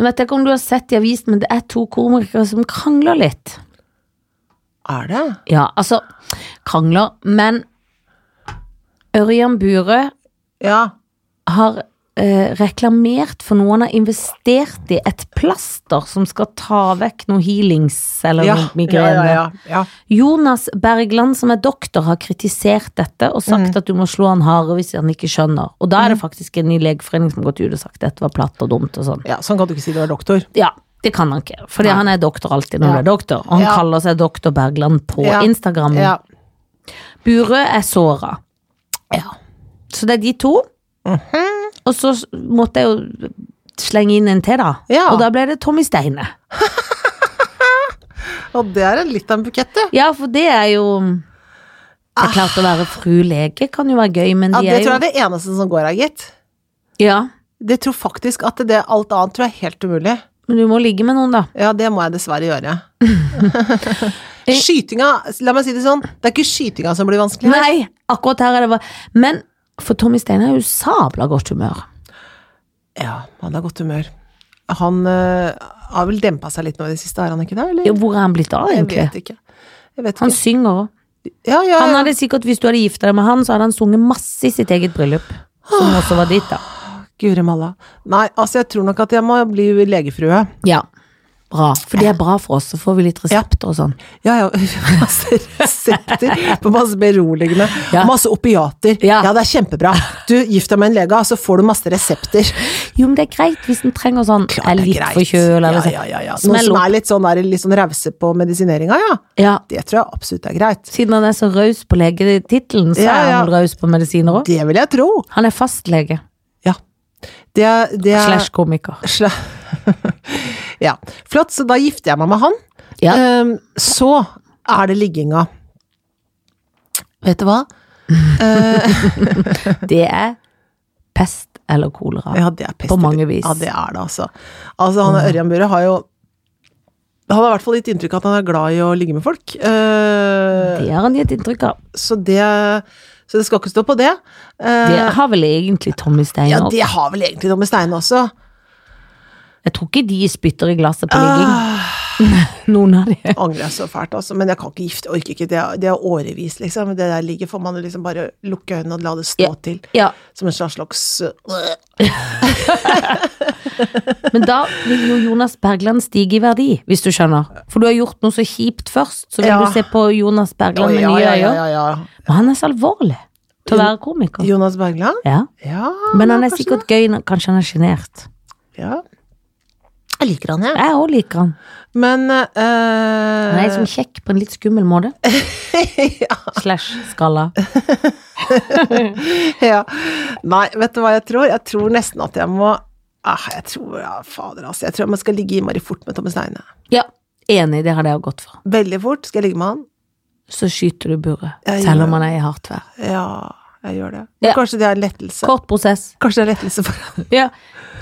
[SPEAKER 2] Nå vet jeg ikke om du har sett i avisen, men det er to komikere som krangler litt.
[SPEAKER 1] Er det?
[SPEAKER 2] Ja, altså Krangler, men Ørjan Bure
[SPEAKER 1] Ja.
[SPEAKER 2] har eh, reklamert for noe han har investert i, et plaster som skal ta vekk noe healings eller
[SPEAKER 1] Ja,
[SPEAKER 2] noe
[SPEAKER 1] ja,
[SPEAKER 2] migrene.
[SPEAKER 1] ja, ja, ja.
[SPEAKER 2] Jonas Bergland, som er doktor, har kritisert dette og
[SPEAKER 1] Mm.
[SPEAKER 2] sagt at du må slå han hardere hvis han ikke skjønner. Og da er det faktisk en i legeforening som har gått ut og sagt at dette var platt og dumt og sånn.
[SPEAKER 1] ja. Sånn kan du ikke si du er doktor.
[SPEAKER 2] Ja, det kan han ikke, fordi
[SPEAKER 1] Nei.
[SPEAKER 2] han er doktor alltid når
[SPEAKER 1] Ja.
[SPEAKER 2] du er doktor. Og han
[SPEAKER 1] Ja.
[SPEAKER 2] kaller seg doktor Bergland på
[SPEAKER 1] Ja.
[SPEAKER 2] Instagram.
[SPEAKER 1] Ja.
[SPEAKER 2] Burø er såra. Ja. Så det er de to.
[SPEAKER 1] Mhm.
[SPEAKER 2] Og så s- måtte jeg jo slenge inn en til, da.
[SPEAKER 1] Ja.
[SPEAKER 2] Og da ble det Tommy Steine.
[SPEAKER 1] Og det er en litt av en bukett, du.
[SPEAKER 2] Ja, for det er jo Det er klart å være fru lege kan jo være gøy, men
[SPEAKER 1] Ja,
[SPEAKER 2] de
[SPEAKER 1] det
[SPEAKER 2] er
[SPEAKER 1] tror jeg
[SPEAKER 2] jo
[SPEAKER 1] er det eneste som går her, gitt.
[SPEAKER 2] Ja,
[SPEAKER 1] Det tror faktisk at det alt annet tror jeg er helt umulig.
[SPEAKER 2] men du må ligge med noen, da.
[SPEAKER 1] Ja, det må jeg dessverre gjøre. skytinga, la meg si det sånn, det er ikke skytinga som blir vanskelig. her.
[SPEAKER 2] Nei, akkurat her er det bare Men for Tommy Steine er jo sabla godt humør.
[SPEAKER 1] Ja, han har godt humør. Han øh, har vel dempa seg litt nå i det siste, er han ikke det? Eller?
[SPEAKER 2] Jo, Hvor er han blitt av,
[SPEAKER 1] jeg
[SPEAKER 2] egentlig?
[SPEAKER 1] vet ikke. Jeg vet
[SPEAKER 2] Han
[SPEAKER 1] ikke.
[SPEAKER 2] synger òg.
[SPEAKER 1] Ja, ja,
[SPEAKER 2] Han hadde sikkert, hvis du hadde gifta deg med han, så hadde han sunget masse i sitt eget bryllup. Som
[SPEAKER 1] Ah.
[SPEAKER 2] også var ditt, da.
[SPEAKER 1] Guri malla. Nei, altså jeg tror nok at jeg må bli legefrue.
[SPEAKER 2] Ja. Bra. For det er bra for oss, så får vi litt resepter og sånn.
[SPEAKER 1] Ja, ja, masse resepter på masse beroligende.
[SPEAKER 2] Ja.
[SPEAKER 1] Masse opiater. Ja.
[SPEAKER 2] Ja.
[SPEAKER 1] det er kjempebra. Du, gift deg med en lege, så får du masse resepter.
[SPEAKER 2] Jo, men det er greit hvis en trenger sånn er
[SPEAKER 1] Det er
[SPEAKER 2] litt
[SPEAKER 1] greit.
[SPEAKER 2] forkjøla eller
[SPEAKER 1] ja,
[SPEAKER 2] sånn.
[SPEAKER 1] ja, ja, ja. Noen
[SPEAKER 2] Smell
[SPEAKER 1] som
[SPEAKER 2] opp.
[SPEAKER 1] er litt sånn, der, litt sånn rause på medisineringa, ja.
[SPEAKER 2] Ja.
[SPEAKER 1] Det tror jeg absolutt er greit.
[SPEAKER 2] Siden han er så raus på legetittelen, så
[SPEAKER 1] Ja,
[SPEAKER 2] er
[SPEAKER 1] ja.
[SPEAKER 2] han raus på medisiner òg.
[SPEAKER 1] Det vil jeg tro.
[SPEAKER 2] Han er fastlege
[SPEAKER 1] Ja. Det, er- det er-
[SPEAKER 2] slash komiker.
[SPEAKER 1] Sla- ja. Flott, så da gifter jeg meg med han.
[SPEAKER 2] Ja.
[SPEAKER 1] Ehm, så er det ligginga. Vet du hva?
[SPEAKER 2] Det er pest eller kolera.
[SPEAKER 1] Ja, det er pest.
[SPEAKER 2] På mange vis.
[SPEAKER 1] Ja, det er det, altså. Altså, han Ørjan Burre har jo Han har i hvert fall gitt inntrykk av at han er glad i å ligge med folk. Ehm,
[SPEAKER 2] Det har han gitt inntrykk av.
[SPEAKER 1] så det Så det skal ikke stå på det. Ehm,
[SPEAKER 2] Det har vel egentlig Tommy Stein
[SPEAKER 1] ja,
[SPEAKER 2] òg.
[SPEAKER 1] det har vel egentlig noe med Steine også.
[SPEAKER 2] Jeg tror ikke de spytter i glasset på
[SPEAKER 1] Ah.
[SPEAKER 2] ligging. Noen av de.
[SPEAKER 1] Angrer jeg så fælt, altså. Men jeg kan ikke gifte, orker ikke. Det er, det er årevis, liksom. Det der ligger får man liksom bare lukke øynene og la det stå
[SPEAKER 2] Ja.
[SPEAKER 1] til.
[SPEAKER 2] Ja,
[SPEAKER 1] Som en slags, slags øh,
[SPEAKER 2] Men da vil jo Jonas Bergland stige i verdi, hvis du skjønner. For du har gjort noe så kjipt først, så vil
[SPEAKER 1] Ja.
[SPEAKER 2] du se på Jonas Bergland med
[SPEAKER 1] ja,
[SPEAKER 2] nye
[SPEAKER 1] ja, ja,
[SPEAKER 2] øyne.
[SPEAKER 1] ja, ja.
[SPEAKER 2] Men han er så alvorlig til å
[SPEAKER 1] Jo-
[SPEAKER 2] være komiker.
[SPEAKER 1] Jonas Bergland?
[SPEAKER 2] Ja.
[SPEAKER 1] Ja.
[SPEAKER 2] Men han
[SPEAKER 1] ja,
[SPEAKER 2] er
[SPEAKER 1] kanskje
[SPEAKER 2] sikkert gøy, når- kanskje han er sjenert.
[SPEAKER 1] det. ja. Jeg liker han, jeg.
[SPEAKER 2] Jeg òg liker han.
[SPEAKER 1] Men eh,
[SPEAKER 2] Han er som kjekk på en litt skummel måte.
[SPEAKER 1] ja,
[SPEAKER 2] Slash skalla.
[SPEAKER 1] ja. Nei, vet du hva jeg tror? Jeg tror nesten at jeg må ah, Jeg tror ja, Fader, altså. Jeg tror man skal ligge innmari fort med Tommy Steine.
[SPEAKER 2] Ja, enig, det hadde jeg òg gått for.
[SPEAKER 1] Veldig fort skal jeg ligge med han.
[SPEAKER 2] Så skyter du buret,
[SPEAKER 1] Ja, ja.
[SPEAKER 2] selv om han er i hardt vær.
[SPEAKER 1] Ja, jeg gjør det. Men
[SPEAKER 2] Ja.
[SPEAKER 1] kanskje det er en lettelse.
[SPEAKER 2] Kort prosess.
[SPEAKER 1] Kanskje det er lettelse for han.
[SPEAKER 2] Ja.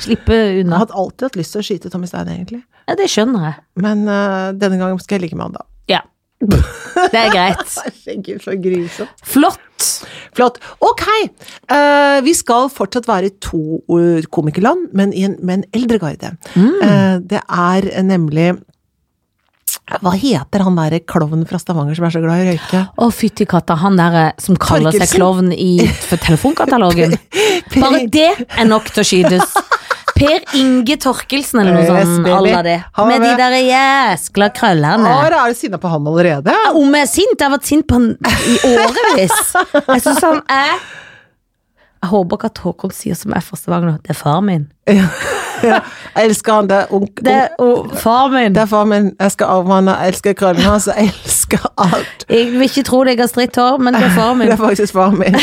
[SPEAKER 2] Slippe
[SPEAKER 1] Jeg
[SPEAKER 2] unna.
[SPEAKER 1] hadde alltid hatt lyst til å skyte Tommy Steine, egentlig.
[SPEAKER 2] Ja, det skjønner jeg.
[SPEAKER 1] Men eh, denne gangen skal jeg ligge med han, da.
[SPEAKER 2] Ja. Det er greit.
[SPEAKER 1] Herregud, så grusomt.
[SPEAKER 2] Flott.
[SPEAKER 1] Flott. Ok, eh, vi skal fortsatt være i to eh, komikerland, men i en, med en eldre garde.
[SPEAKER 2] Mm.
[SPEAKER 1] Eh, det er nemlig Hva heter han derre klovnen fra Stavanger som er så glad i å røyke?
[SPEAKER 2] Å, fytti katta, han der eh, som kaller seg
[SPEAKER 1] Torkelsen.
[SPEAKER 2] klovn i for telefonkatalogen.
[SPEAKER 1] Per-
[SPEAKER 2] Bare det er nok til å skytes. Per Inge Torkelsen eller noe
[SPEAKER 1] Yes,
[SPEAKER 2] sånt.
[SPEAKER 1] baby.
[SPEAKER 2] Alla det.
[SPEAKER 1] Eh, Han var
[SPEAKER 2] Med de
[SPEAKER 1] med.
[SPEAKER 2] der eh, jæskla krøllene.
[SPEAKER 1] Har er du sinna på ham allerede?
[SPEAKER 2] Om jeg er sint? Jeg har vært sint på han i årevis. Jeg syns han er Jeg håper ikke at Håkon sier som jeg fra Stavanger nå. Det er far min.
[SPEAKER 1] Jeg elsker han, det er ung...
[SPEAKER 2] Det
[SPEAKER 1] ung-
[SPEAKER 2] er og far min.
[SPEAKER 1] det er far min. Jeg skal arve han, jeg elsker krøllen hans, jeg elsker alt.
[SPEAKER 2] Jeg vil ikke tro det jeg har stritt hår, men det er far
[SPEAKER 1] Det
[SPEAKER 2] min.
[SPEAKER 1] er faktisk far min.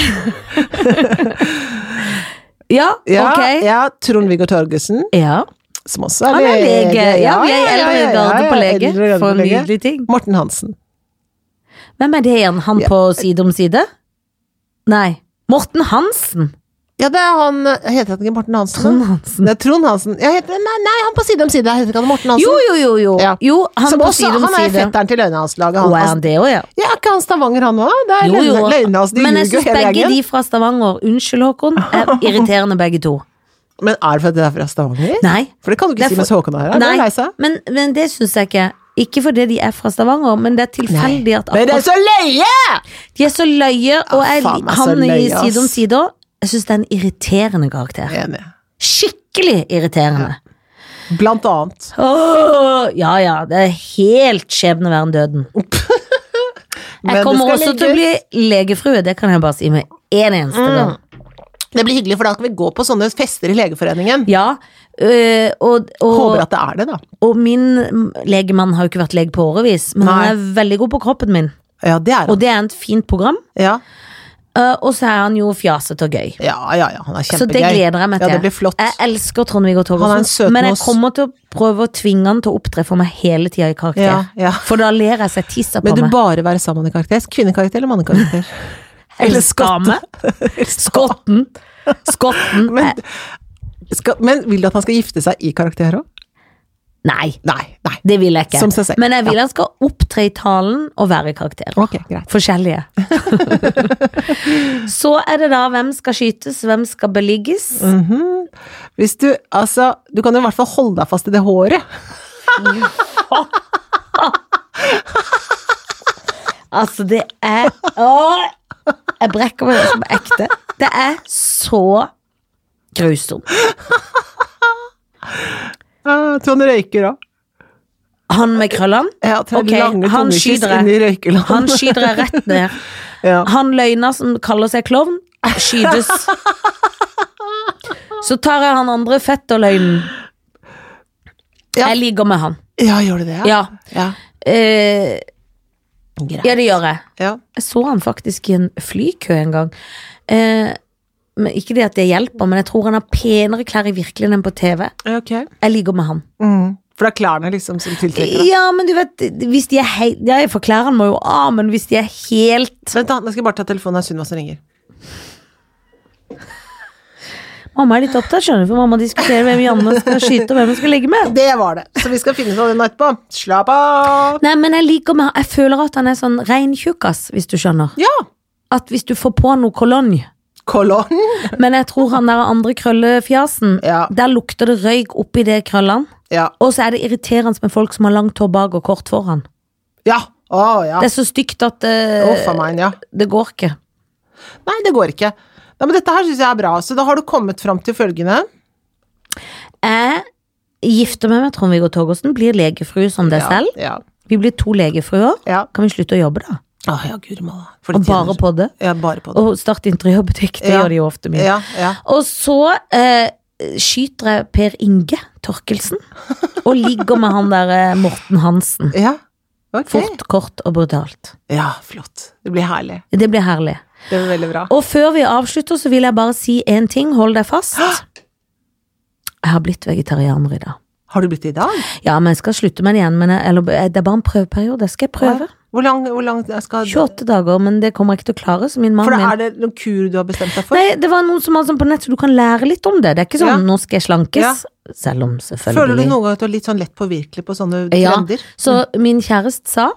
[SPEAKER 2] Ja,
[SPEAKER 1] Ja,
[SPEAKER 2] ok.
[SPEAKER 1] ja Trond-Viggo Torgersen.
[SPEAKER 2] Ja.
[SPEAKER 1] Som også er
[SPEAKER 2] Han er lege. Ja,
[SPEAKER 1] ja,
[SPEAKER 2] vi er
[SPEAKER 1] ja,
[SPEAKER 2] eldre
[SPEAKER 1] ja,
[SPEAKER 2] garde
[SPEAKER 1] ja,
[SPEAKER 2] på
[SPEAKER 1] ja,
[SPEAKER 2] lege.
[SPEAKER 1] eldre garde
[SPEAKER 2] For
[SPEAKER 1] på
[SPEAKER 2] en
[SPEAKER 1] lege.
[SPEAKER 2] nydelig ting.
[SPEAKER 1] Morten Hansen.
[SPEAKER 2] Hvem er det igjen? Han på Side om side? Nei. Morten Hansen!
[SPEAKER 1] Ja, det er han Heter han ikke Morten Hansen?
[SPEAKER 2] Trond
[SPEAKER 1] da?
[SPEAKER 2] Hansen.
[SPEAKER 1] Det er Trond Hansen. Ja, heter, nei, nei, han på side om side. Heter ikke han Morten Hansen?
[SPEAKER 2] Jo, jo, jo, jo.
[SPEAKER 1] Ja.
[SPEAKER 2] jo han
[SPEAKER 1] Som
[SPEAKER 2] på
[SPEAKER 1] også,
[SPEAKER 2] Side om
[SPEAKER 1] han er
[SPEAKER 2] side.
[SPEAKER 1] fetteren til Løgnehalslaget.
[SPEAKER 2] Og
[SPEAKER 1] Han, Altså,
[SPEAKER 2] er han det òg, ja?
[SPEAKER 1] ja, er ikke han Stavanger, han òg? Det er
[SPEAKER 2] Jo, jo.
[SPEAKER 1] Løgne- Løgnehals, altså, de
[SPEAKER 2] Men jeg
[SPEAKER 1] ljuger
[SPEAKER 2] syns
[SPEAKER 1] jo hele
[SPEAKER 2] begge
[SPEAKER 1] gjengen.
[SPEAKER 2] de fra Stavanger, unnskyld Håkon, er irriterende begge to.
[SPEAKER 1] Men er det fordi det er fra Stavanger?
[SPEAKER 2] Nei.
[SPEAKER 1] For det kan du
[SPEAKER 2] Det
[SPEAKER 1] ikke
[SPEAKER 2] er
[SPEAKER 1] si mens
[SPEAKER 2] for-
[SPEAKER 1] Håkon er her.
[SPEAKER 2] Nei.
[SPEAKER 1] Nei. Leisa.
[SPEAKER 2] Men, men det syns jeg ikke. Ikke fordi de er fra Stavanger, men det er tilfeldig at
[SPEAKER 1] Men det er så
[SPEAKER 2] akkurat
[SPEAKER 1] løye!
[SPEAKER 2] De er så løye, og
[SPEAKER 1] Ja,
[SPEAKER 2] jeg,
[SPEAKER 1] faen meg, så
[SPEAKER 2] han i
[SPEAKER 1] løye, ass.
[SPEAKER 2] Side om side òg Jeg syns det er en irriterende karakter.
[SPEAKER 1] Enig.
[SPEAKER 2] Skikkelig irriterende.
[SPEAKER 1] Blant annet.
[SPEAKER 2] Åh, ja ja, det er helt skjebneverden døden.
[SPEAKER 1] Men det
[SPEAKER 2] Jeg kommer
[SPEAKER 1] skal
[SPEAKER 2] også
[SPEAKER 1] ligge- Mm.
[SPEAKER 2] til å bli legefrue, det kan jeg bare si med en eneste gang.
[SPEAKER 1] Det blir hyggelig, for da kan vi gå på sånne fester i Legeforeningen.
[SPEAKER 2] Ja, øh, og,
[SPEAKER 1] Håper
[SPEAKER 2] og,
[SPEAKER 1] at det er det, da.
[SPEAKER 2] og min legemann har jo ikke vært lege på årevis, men
[SPEAKER 1] Nei.
[SPEAKER 2] han er veldig god på kroppen min.
[SPEAKER 1] Ja, det er han.
[SPEAKER 2] Og det er et fint program,
[SPEAKER 1] Ja,
[SPEAKER 2] øh, og så er han jo fjasete og gøy.
[SPEAKER 1] ja, ja. ja han er kjempegøy.
[SPEAKER 2] Så det gleder jeg meg til.
[SPEAKER 1] Ja, det blir flott.
[SPEAKER 2] Jeg elsker Trond-Viggo
[SPEAKER 1] Han er en søt
[SPEAKER 2] Torgersen, men jeg
[SPEAKER 1] mås.
[SPEAKER 2] kommer til å prøve å tvinge han til å opptre for meg hele tida i karakter.
[SPEAKER 1] Ja, ja.
[SPEAKER 2] For da ler jeg seg tissa på
[SPEAKER 1] Men du
[SPEAKER 2] meg.
[SPEAKER 1] bare være sammen med karakter? Kvinnekarakter eller mannekarakter?
[SPEAKER 2] Eller skamme. Skotten. Skotten.
[SPEAKER 1] Men-
[SPEAKER 2] Eh,
[SPEAKER 1] Skal, men vil du at han skal gifte seg i karakter òg?
[SPEAKER 2] Nei,
[SPEAKER 1] Nei. nei.
[SPEAKER 2] det vil jeg ikke.
[SPEAKER 1] Som seg selv,
[SPEAKER 2] Men jeg vil han skal opptre i talen og være i karakter.
[SPEAKER 1] Ok, greit.
[SPEAKER 2] Forskjellige. Så er det da hvem skal skytes, hvem skal beligges.
[SPEAKER 1] Mm. Hvis du, altså, du kan jo i hvert fall holde deg fast i det håret.
[SPEAKER 2] Altså, det er Åh! Jeg brekker meg som ekte. Det er så grusomt.
[SPEAKER 1] Ja, tror han røyker òg.
[SPEAKER 2] Han med krøllene,
[SPEAKER 1] Ja, tror
[SPEAKER 2] Ok,
[SPEAKER 1] jeg lange
[SPEAKER 2] han
[SPEAKER 1] tonnekyss
[SPEAKER 2] skyter
[SPEAKER 1] inn i
[SPEAKER 2] jeg.
[SPEAKER 1] røykeland.
[SPEAKER 2] han skyter jeg rett ned.
[SPEAKER 1] Ja.
[SPEAKER 2] Han løgner som kaller seg klovn, skytes. Så tar jeg han andre fetterløgnen.
[SPEAKER 1] Ja.
[SPEAKER 2] Jeg ligger med han.
[SPEAKER 1] ja, gjør du det?
[SPEAKER 2] Ja.
[SPEAKER 1] Ja.
[SPEAKER 2] Eh,
[SPEAKER 1] Greit.
[SPEAKER 2] ja, det gjør jeg.
[SPEAKER 1] Ja.
[SPEAKER 2] Jeg så han faktisk i en flykø en gang. Eh, men ikke det at det hjelper, men jeg tror han har penere klær i virkeligheten enn på TV.
[SPEAKER 1] Ok.
[SPEAKER 2] Jeg ligger med han.
[SPEAKER 1] Mm. For det er klærne liksom som tiltrekker deg.
[SPEAKER 2] Ja, men du vet, hvis de er helt Ja, jeg får klærne må jo av, men hvis de er helt
[SPEAKER 1] Vent, da. Nå skal jeg bare ta telefonen. Det er Sunniva som ringer.
[SPEAKER 2] Mamma er litt opptatt, skjønner du, for mamma diskuterer hvem Janne skal skyte, og hvem hun skal ligge med.
[SPEAKER 1] Det var det. Så vi skal finne ut av den etterpå. Slapp av.
[SPEAKER 2] Nei, men jeg liker med Jeg føler at han er sånn rein tjukkas, hvis du skjønner.
[SPEAKER 1] Ja.
[SPEAKER 2] At hvis du får på noe kolonj
[SPEAKER 1] Kolonn.
[SPEAKER 2] Men jeg tror han der andre krøllefjasen,
[SPEAKER 1] Ja.
[SPEAKER 2] der lukter det røyk oppi det krøllene.
[SPEAKER 1] Ja.
[SPEAKER 2] Og så er det irriterende med folk som har langt hår bak og kort foran.
[SPEAKER 1] Ja. Å, ja.
[SPEAKER 2] Det er så stygt at eh,
[SPEAKER 1] Å, for meg, ja.
[SPEAKER 2] det går ikke.
[SPEAKER 1] Nei, det går ikke. Nei, men dette her syns jeg er bra. Så da har du kommet fram til følgende.
[SPEAKER 2] Jeg gifter meg med Trond-Viggo Torgersen, blir legefrue som deg selv.
[SPEAKER 1] Ja.
[SPEAKER 2] Vi blir to legefruer.
[SPEAKER 1] ja.
[SPEAKER 2] Kan vi slutte å jobbe, da?
[SPEAKER 1] Å ja, guri malla. For de
[SPEAKER 2] Og bare
[SPEAKER 1] tjener-
[SPEAKER 2] på det?
[SPEAKER 1] Ja, bare på det.
[SPEAKER 2] Og starte interiørbutikk, det
[SPEAKER 1] Ja.
[SPEAKER 2] gjør de jo ofte mye.
[SPEAKER 1] Ja, ja.
[SPEAKER 2] Og så eh, skyter jeg Per Inge Torkelsen, og ligger med han der eh, Morten Hansen.
[SPEAKER 1] ja. Ok.
[SPEAKER 2] Fort, kort og brutalt.
[SPEAKER 1] Ja, flott. Det blir herlig.
[SPEAKER 2] Det blir herlig.
[SPEAKER 1] Det blir veldig bra.
[SPEAKER 2] Og før vi avslutter, så vil jeg bare si én ting. Hold deg fast. Jeg har blitt vegetarianer i dag.
[SPEAKER 1] Har du blitt det i dag?
[SPEAKER 2] Ja, men jeg skal slutte med det igjen. Men jeg, eller, eh, det er bare en prøveperiode. Skal jeg prøve?
[SPEAKER 1] Hvor lang, hvor lang jeg skal
[SPEAKER 2] 28 dager, men det kommer jeg ikke til å klare. Så min mann
[SPEAKER 1] For da
[SPEAKER 2] min
[SPEAKER 1] er det noen kur du har bestemt deg for?
[SPEAKER 2] Nei, det var noen som hadde sånn på nett, så du kan lære litt om det. Det er ikke sånn
[SPEAKER 1] Ja.
[SPEAKER 2] 'nå skal jeg slankes', selv om selvfølgelig
[SPEAKER 1] Føler du noen gang at du er litt sånn lett påvirkelig på sånne
[SPEAKER 2] Ja.
[SPEAKER 1] trender? Mm.
[SPEAKER 2] Så min kjæreste sa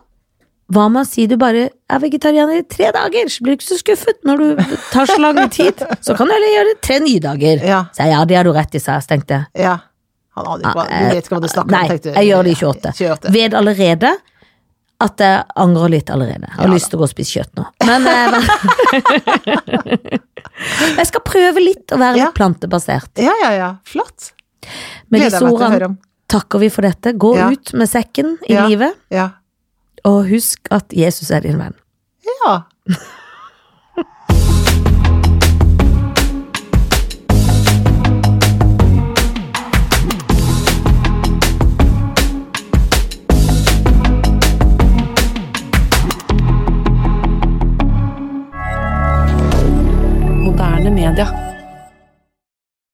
[SPEAKER 2] Hva med å si du bare er vegetarianer i tre dager, så blir du ikke så skuffet når du tar så lang tid. Så kan du heller gjøre det tre nye dager.
[SPEAKER 1] Ja.
[SPEAKER 2] Så jeg, ja, det har du rett i, sa jeg, så tenkte jeg.
[SPEAKER 1] Ja. Han aner ikke hva Du vet ikke hva du snakker
[SPEAKER 2] Nei,
[SPEAKER 1] om, tenkte du.
[SPEAKER 2] jeg gjør det i 28.
[SPEAKER 1] Ja, 28.
[SPEAKER 2] Ved allerede at jeg angrer litt allerede. Jeg har
[SPEAKER 1] Ja,
[SPEAKER 2] lyst til å gå og spise kjøtt nå. Men eh, Jeg skal prøve litt å være
[SPEAKER 1] Ja.
[SPEAKER 2] litt plantebasert.
[SPEAKER 1] Ja, ja, ja. Flott.
[SPEAKER 2] Med
[SPEAKER 1] Gleder jeg meg til
[SPEAKER 2] disse
[SPEAKER 1] å
[SPEAKER 2] ordene
[SPEAKER 1] høre om.
[SPEAKER 2] takker vi for dette. Gå
[SPEAKER 1] Ja.
[SPEAKER 2] ut med sekken i
[SPEAKER 1] Ja.
[SPEAKER 2] livet,
[SPEAKER 1] Ja.
[SPEAKER 2] og husk at Jesus er din venn.
[SPEAKER 1] ja.